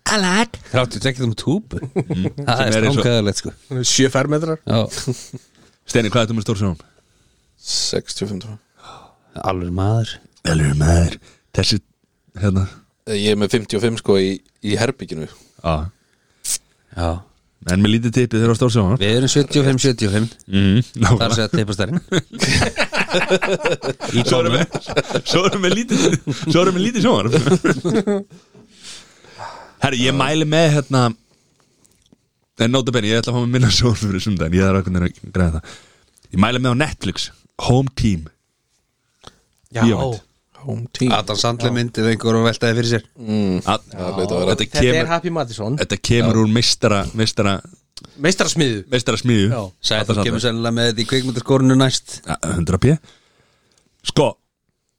C: þráttu tekið um túbu Það
A: sem
C: er
A: er eins og-
C: strákaðalegt sko
B: Hún er Sjö fermetrar
C: Já,
A: Steini, hvað er þetta með stór sjóðan?
D: 65 tóma.
C: alveg maður
A: Elur maður Þessi Hérna
D: Eh, Ég er með 55 sko í, í herbygginu
A: Já
C: Já,
A: En með lítið tippið þegar á stór sjóðan
C: við erum 75-75 Það er að
A: Nákvæmlega
C: segja teipa stærinn Í
A: (laughs) Svo erum við Svo erum
C: tómu
A: við lítið Svo erum við lítið sjónvarp Herri, ég mæli með hérna En nota bene, ég ætla að fá mig minna sjónvarp fyrir sundaginn Ég þarf að kunna að græða það Ég mæli með á Netflix Home Team
B: Já,
A: Bíómynd.
D: Home team
C: Adam Sandler myndið einhver og veltaði fyrir sér
A: Að,
D: Það leita að vera
A: Þetta
B: þetta er
A: kemur,
B: Happy Madison
A: þetta kemur úr meistara Meistara,
B: Meistarsmiðu
A: meistara smíðu
B: Já.
C: Sæði þú kemur sennilega með þetta í kvikmyndarskórunu næst
A: 100 p Sko,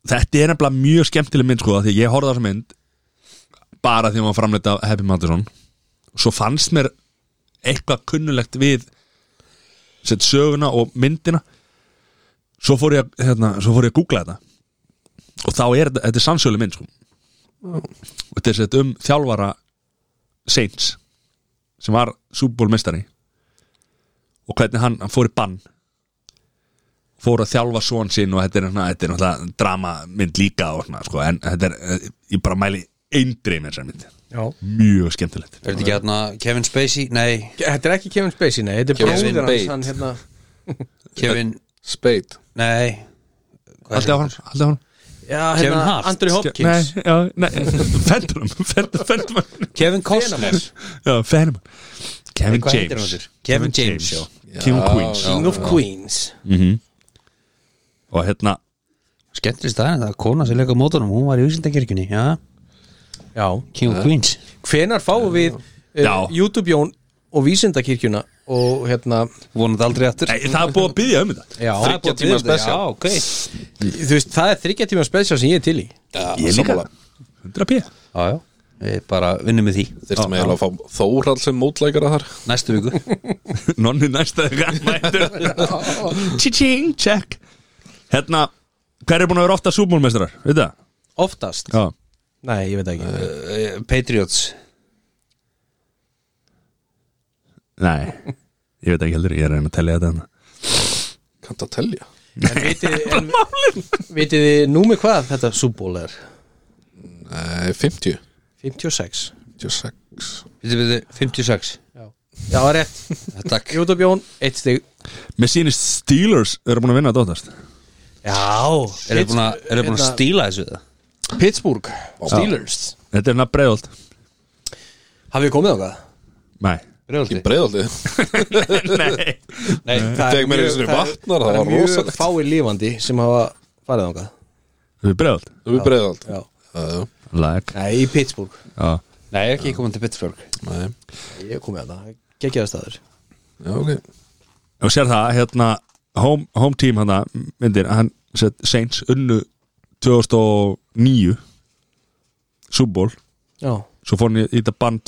A: þetta er nefnilega mjög skemmtileg mynd sko af Því að ég horfði á þessa mynd Bara því að maður framleita Happy Madison Svo fannst mér eitthvað kunnulegt við Sett söguna og myndina Svo fór ég, að- hérna, svo fór ég að googla þetta Og þá er þetta, þetta er sannsölu mynd sko Og þetta er sett um þjálfara Saints Sem var súbúlmestari Og hvernig hann, hann fór í bann fór að þjálfa svon sinn og þetta er, svona, þetta er náttúrulega dramamynd líka og svona, sko, en þetta er, ég bara mæli eindreið með þessa mynd,
B: Já
A: mjög skemmtilegt
C: Er þetta ekki hérna Kevin Spacey? Nei,
B: Þetta er ekki Kevin Spacey, nei, þetta er bróðir
D: Kevin
B: hans
D: Bate.
B: hann hérna
C: Kevin,
D: Spade
C: nei Hvað
A: Haldið á hann, haldið á hann
B: Já,
C: Kevin
B: hérna,
C: Hart.
B: Andrew Hopkins
A: Nei, já, nei, (laughs) Fendrum, Fendrum
C: Kevin Costner
A: Já, Fendrum Kevin
C: Hvað heitir hann
A: James
C: aftur? Kevin James, já.
A: King of
D: Já,
A: Queens
D: já.
B: King of Queens
A: og hérna,
C: Skemmtist það, það er kona sem leika á mótunum Hún var í Vísindakirkjunni, já
B: Já
C: King of Queens
B: Hvenar fáum við
A: Já.
B: uh, YouTube Jón og Vísindakirkjuna og hérna
C: Vonandi aldrei aftur
A: nei, það er búið að byggja um þetta
B: Já,
C: Það er búið að tíma
D: special.
C: Já, ok
B: þú veist, það er þryggja tíma spesial sem ég er til í
D: Já,
A: Ég líka. 100 p
C: Já, já Við bara vinnum við því
D: Þyrftum eiginlega að fá Þórhall sem mótlækara þar
C: Næstu viku
A: Nonni næsta þegar mætur
C: (laughs)
A: Tching, check Hérna, hver er búin að vera ofta súbúlmestrar, veit það?
B: Oftast
A: Já
B: Nei, ég veit það ekki
C: Eh, Patriots
A: Nei, ég veit ekki heldur, ég er að reyna að tellja þetta hérna.
D: Kanntu að telja?
B: En
C: (laughs)
B: vitið- en- Vitið þið númi hvað þetta súból er?
D: Nei, 50
B: 56
D: 56
C: Býtu, býtu, 56
B: Já, rétt
C: Takk
B: YouTube Jón, eitt stig
A: Mér sýnist Steelers eru búin að vinna að dóttast
B: Já
C: Er þið búin að- eru þið búin að
B: Hérna-
C: stíla þessu það?
B: Pittsburgh Steelers
A: Þetta er hérna breiðolt
B: Hafið þið komið á hvað?
A: Nei,
D: Í breiðaldi
A: Nei.
C: Nei
D: Ég tek mér einu sinni vatnar, það var
B: mjög
D: rosalegt.
B: fáið lífandi sem hafa farið á hvað
A: Þetta er breiðolt
D: Þú er breiðaldi
B: Já
D: Já,
A: Lag
B: Nei, í Pittsburgh
A: Já.
C: Nei, ég er ekki komin til Pittsburgh
D: nei.
B: Ég hef komið á það Gekkjaða staður
D: já ok
A: Og sér það, hérna Home, home team hann myndir Hann set Saints unnu 2009 Súból
B: Já
A: Svo fór hann í í þetta bann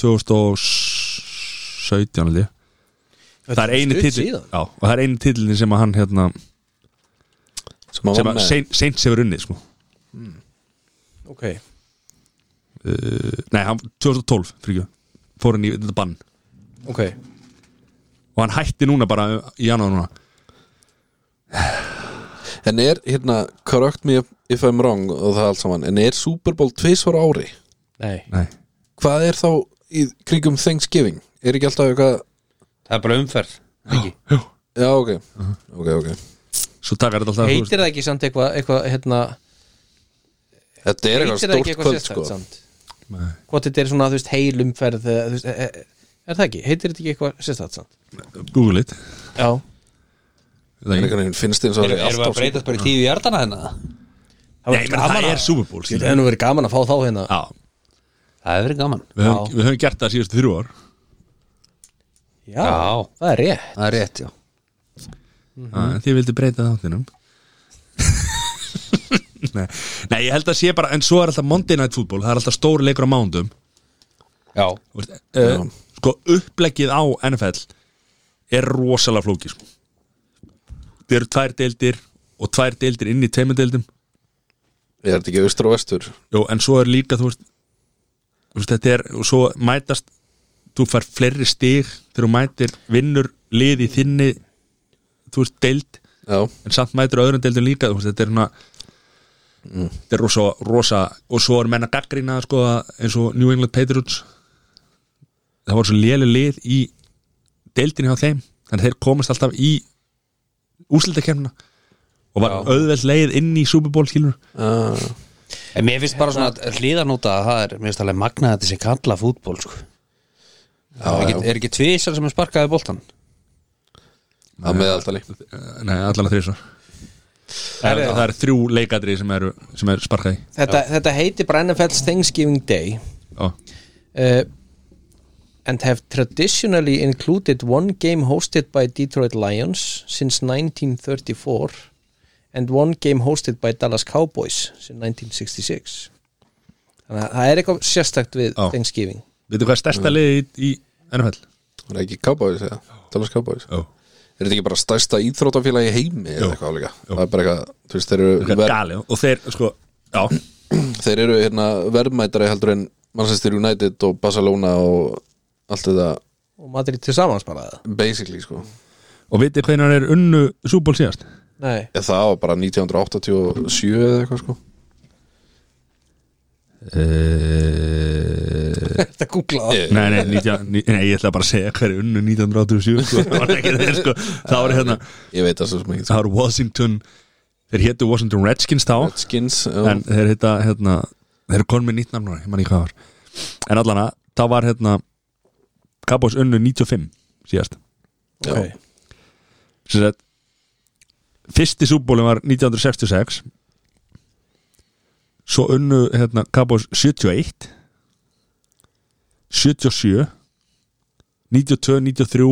A: 2017 held ég Það er eini
B: stutt
A: titil
B: síðan.
A: Já, og það er eini titilin sem að hann hérna
D: Sem að
A: sem að
D: vann
A: Saints Saints hefur unnið sko
B: Ok
A: uh, Nei, hann 2012 fyrir ekki Fór hann í þetta bann
B: Ok
A: Og hann hætti núna bara í janúar núna
D: En er, hérna, correct me if if I'm wrong og það allt saman en er Super Bowl tvisvar á ári
B: Nei,
A: Nei,
D: hvað er þá í kringum Thanksgiving er ekki alltaf eitthvað
C: Það er bara umferð ekki?
D: já ok, ok, ok
A: svo takar þetta alltaf
B: heitir það ekki samt eitthvað eitthvað, hérna,
D: þetta er
B: heitir
D: eitthvað
B: það
D: stórt
B: ekki eitthvað
D: kvöld
B: sérstætt
D: sko
B: samt hvort þetta er svona, þú veist, heilumferð eða, þú veist, e- e- er það ekki, heitir þetta ekki eitthvað sérstætt samt?
A: Google it
B: Já,
A: Það er
D: Er
A: ekki-
D: einhvern veginn finnst þið eins og
C: Erum
D: það
C: erum við að breytast bara í tíu í hjartana hérna?
B: það
A: Nei, menn, það er Super Bowl
B: Ég
A: skilur.
B: hefði nú verið gaman að fá þá hérna
A: Já,
C: Það hefur verið gaman
A: við höfum, við höfum gert það síðustu þrjú ár
B: Já, það er rétt
C: það er rétt, já
A: mm. Því vildi breyta þáttinum (laughs) Nei. Nei, ég held að sé bara En svo er alltaf Monday Night Football Það er alltaf stór leikur á mándum
C: Já,
A: uh, Sko, uppleggið á NFL Er rosalega flóki sko. Það eru tvær deildir Og tvær deildir inn í tveimur deildum
D: er þetta ekki austur og vestur
A: Jó, en svo er líka, þú veist, þú veist Þetta er, og svo mætast Þú fær fleiri stig Þegar þú mætir vinnur lið í þinni Þú veist, deild
D: já,
A: en samt mætur öðrum deildum líka þú veist, þetta er svona þetta er rosa, rosa og svo er menn að gaggrína sko, að eins og New England Patriots það voru svo léli lið í deildinni á þeim þannig að þeir komast alltaf í úslitakefna og var auðveld leið inn í Super Bowl skilur
D: uh,
C: en mér finnst bara svona hlýðanóta að það er, mér finnst alveg magnað að þetta sé kalla fútból, sko Það er ekki, er ekki tvisar sem er sparkaði boltan
D: að meðaltali
A: Eh, nei, allan að þrísa það, er- það er þrjú leikadri sem eru sem er sparkaði
B: Þetta, þetta heitir Brennafells Thanksgiving Day
A: Ó,
B: uh, and have traditionally included one game hosted by Detroit Lions since 1934 and one game hosted by Dallas Cowboys since 1966 Þannig að það er eitthvað sérstakt við
A: Já.
B: Thanksgiving
A: veitu hvað er stærsta lið í, í NFL?
D: það er ekki kábáðis eða Dallas Cowboys
A: Ó,
D: er þetta ekki bara stærsta íþrótafélagi í heimi eða
A: Jú.
D: eitthvað álíka það er bara eitthvað, þú veist, þeir eru
A: eitthvað gali og þeir sko, já,
D: þeir eru hérna verðmætari heldur en Manchester United og Barcelona og allt þetta
B: og Madrid til samans bara það
D: basically sko
A: og veitu hvernig er unnu Super Bowl síðast? (laughs)
B: Nei,
D: Eða það var bara 1987 eða eitthvað sko
A: Eh,
B: þetta googlaði
D: Ég-
A: (laughs) Nei, nei, 19, ní- nei, ég ætla bara að segja hverju unnu 1987 sko. það var ekki þeir sko það var hérna,
D: ég veit það svo sem ekki sko.
A: það var Washington þeir héttu Washington Redskins þá
D: Skins
A: en þeir hétta, hérna þeir eru konum með nýtt nafn núna, ég man ekki hvað það var en allana, það var hérna Cowboys unnu 95 síðast
B: okay.
A: sem sagt fyrsti súbólum var 1966 svo unnu hérna Cowboys 71 77 92, 93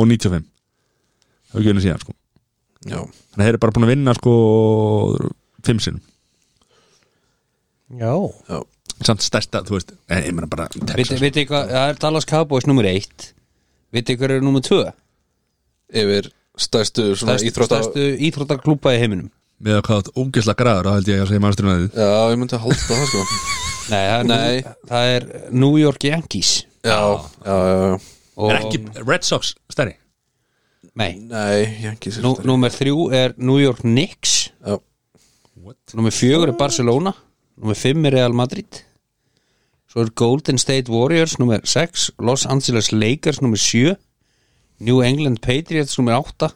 A: og 95 það er ekki unnu síðan sko
D: já,
A: þannig að þeir eru bara búin að vinna sko fimm sinn,
B: Já,
D: já,
A: samt stærsta þú veist, nei, ég meina bara Texas.
C: Vitið þið hvað, það er Dallas Cowboys nummer eitt Vitið þið hver eru nummer tvö?
D: yfir stærstu svona
C: Stærst-
D: íþrótta
C: Stærstu íþróttaklúpa í heiminum
A: með að hvað átt ógeðslega græður þá held ég að segja mannsturinn að þið
D: já, ég myndi að halda það sko
C: Nei, það er,
D: Nei.
C: Það er New York Yankees
D: já, já, já, já
C: og,
A: er ekki Red Sox stærri
C: Nei,
D: nei, ég ekki sér
C: nú, númer þrjú er New York Knicks
D: já,
C: Númer fjögur er Barcelona Númer fimm er Real Madrid Svo er Golden State Warriors Númer sex, Los Angeles Lakers Númer sjö New England Patriots Númer átta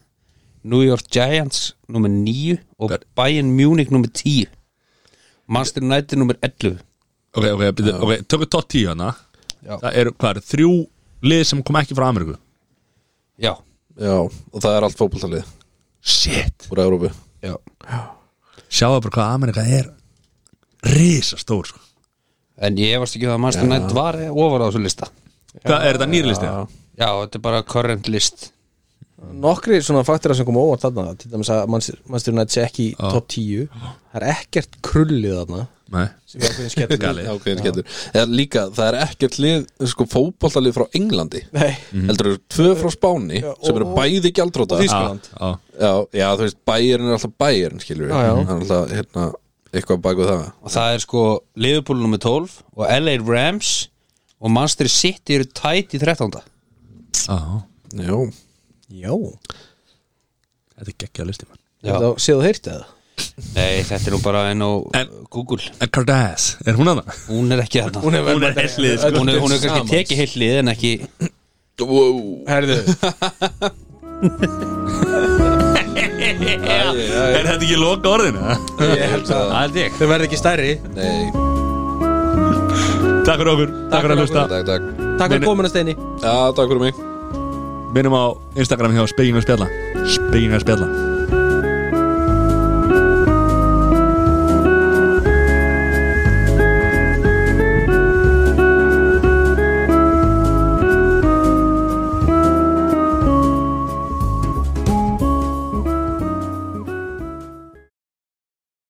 C: New York Giants Númer níu Og
A: Hvað?
C: Bayern Munich Númer tíu Manchester United Númer ellu
A: ok, ok, byrju, ok, tökum tótt tíu hana
C: Já.
A: það eru, hvað eru, þrjú lið sem kom ekki frá Ameríku
C: Já,
D: já og það er allt fótboltalið
A: shit
D: úr Európu
C: já
A: sjáðu bara hvað Amerika er risastór sko.
C: En ég varst ekki það að Manchester United var ofar á þessu lista
A: hvað er þetta nýri listi?
C: Já, þetta er bara current list
B: nokkri svona faktora sem kom óvart þarna til dæmis að mannstur nætt sé ekki í top 10 það er ekkert krullið þarna
A: nei,
B: sem er ákveðin skellur
A: galið
D: ok, ég getur eða líka, það er ekkert lið sko fótboltalið frá Englandi
B: Nei,
D: heldur eru tvö frá Spáni
B: Já, og-
D: sem eru
B: og-
D: bæði gjaldróta
B: og Þýskaland.
A: Já, já.
D: já, já, þú veist, bæjarinn er alltaf bæjarinn skilur við,
B: Já, já.
D: hann er alltaf hérna, eitthvað bak við það
C: og það er sko Liverpool nummer 12 og LA Rams og Manchester City eru tætt í 13.
A: Já.
D: já,
B: já,
A: þetta er geggja listi man.
C: Já.
B: séðu heyrt eða
C: Nei, þetta er nú bara enn á
A: En-
C: Google
A: En Cardass, er hún að það?
C: Hún er ekki þarna Hún er,
A: Hún er hellið sko
C: hún er, kannski
D: Samans.
C: tekið heillið en ekki
D: Wow.
B: Herðu,
A: Er þetta ekki loka orðinu? ha?
D: Ég held að
C: Það er ég
B: þau verði ekki stærri
D: Nei,
A: Takk fyrir okkur, takk fyrir að hlusta
D: takk, takk
B: Takk fyrir komuna steini
D: Já, takk fyrir mig
A: Minnum á Instagram hjá Spegging og Spjalla Spegging og Spjalla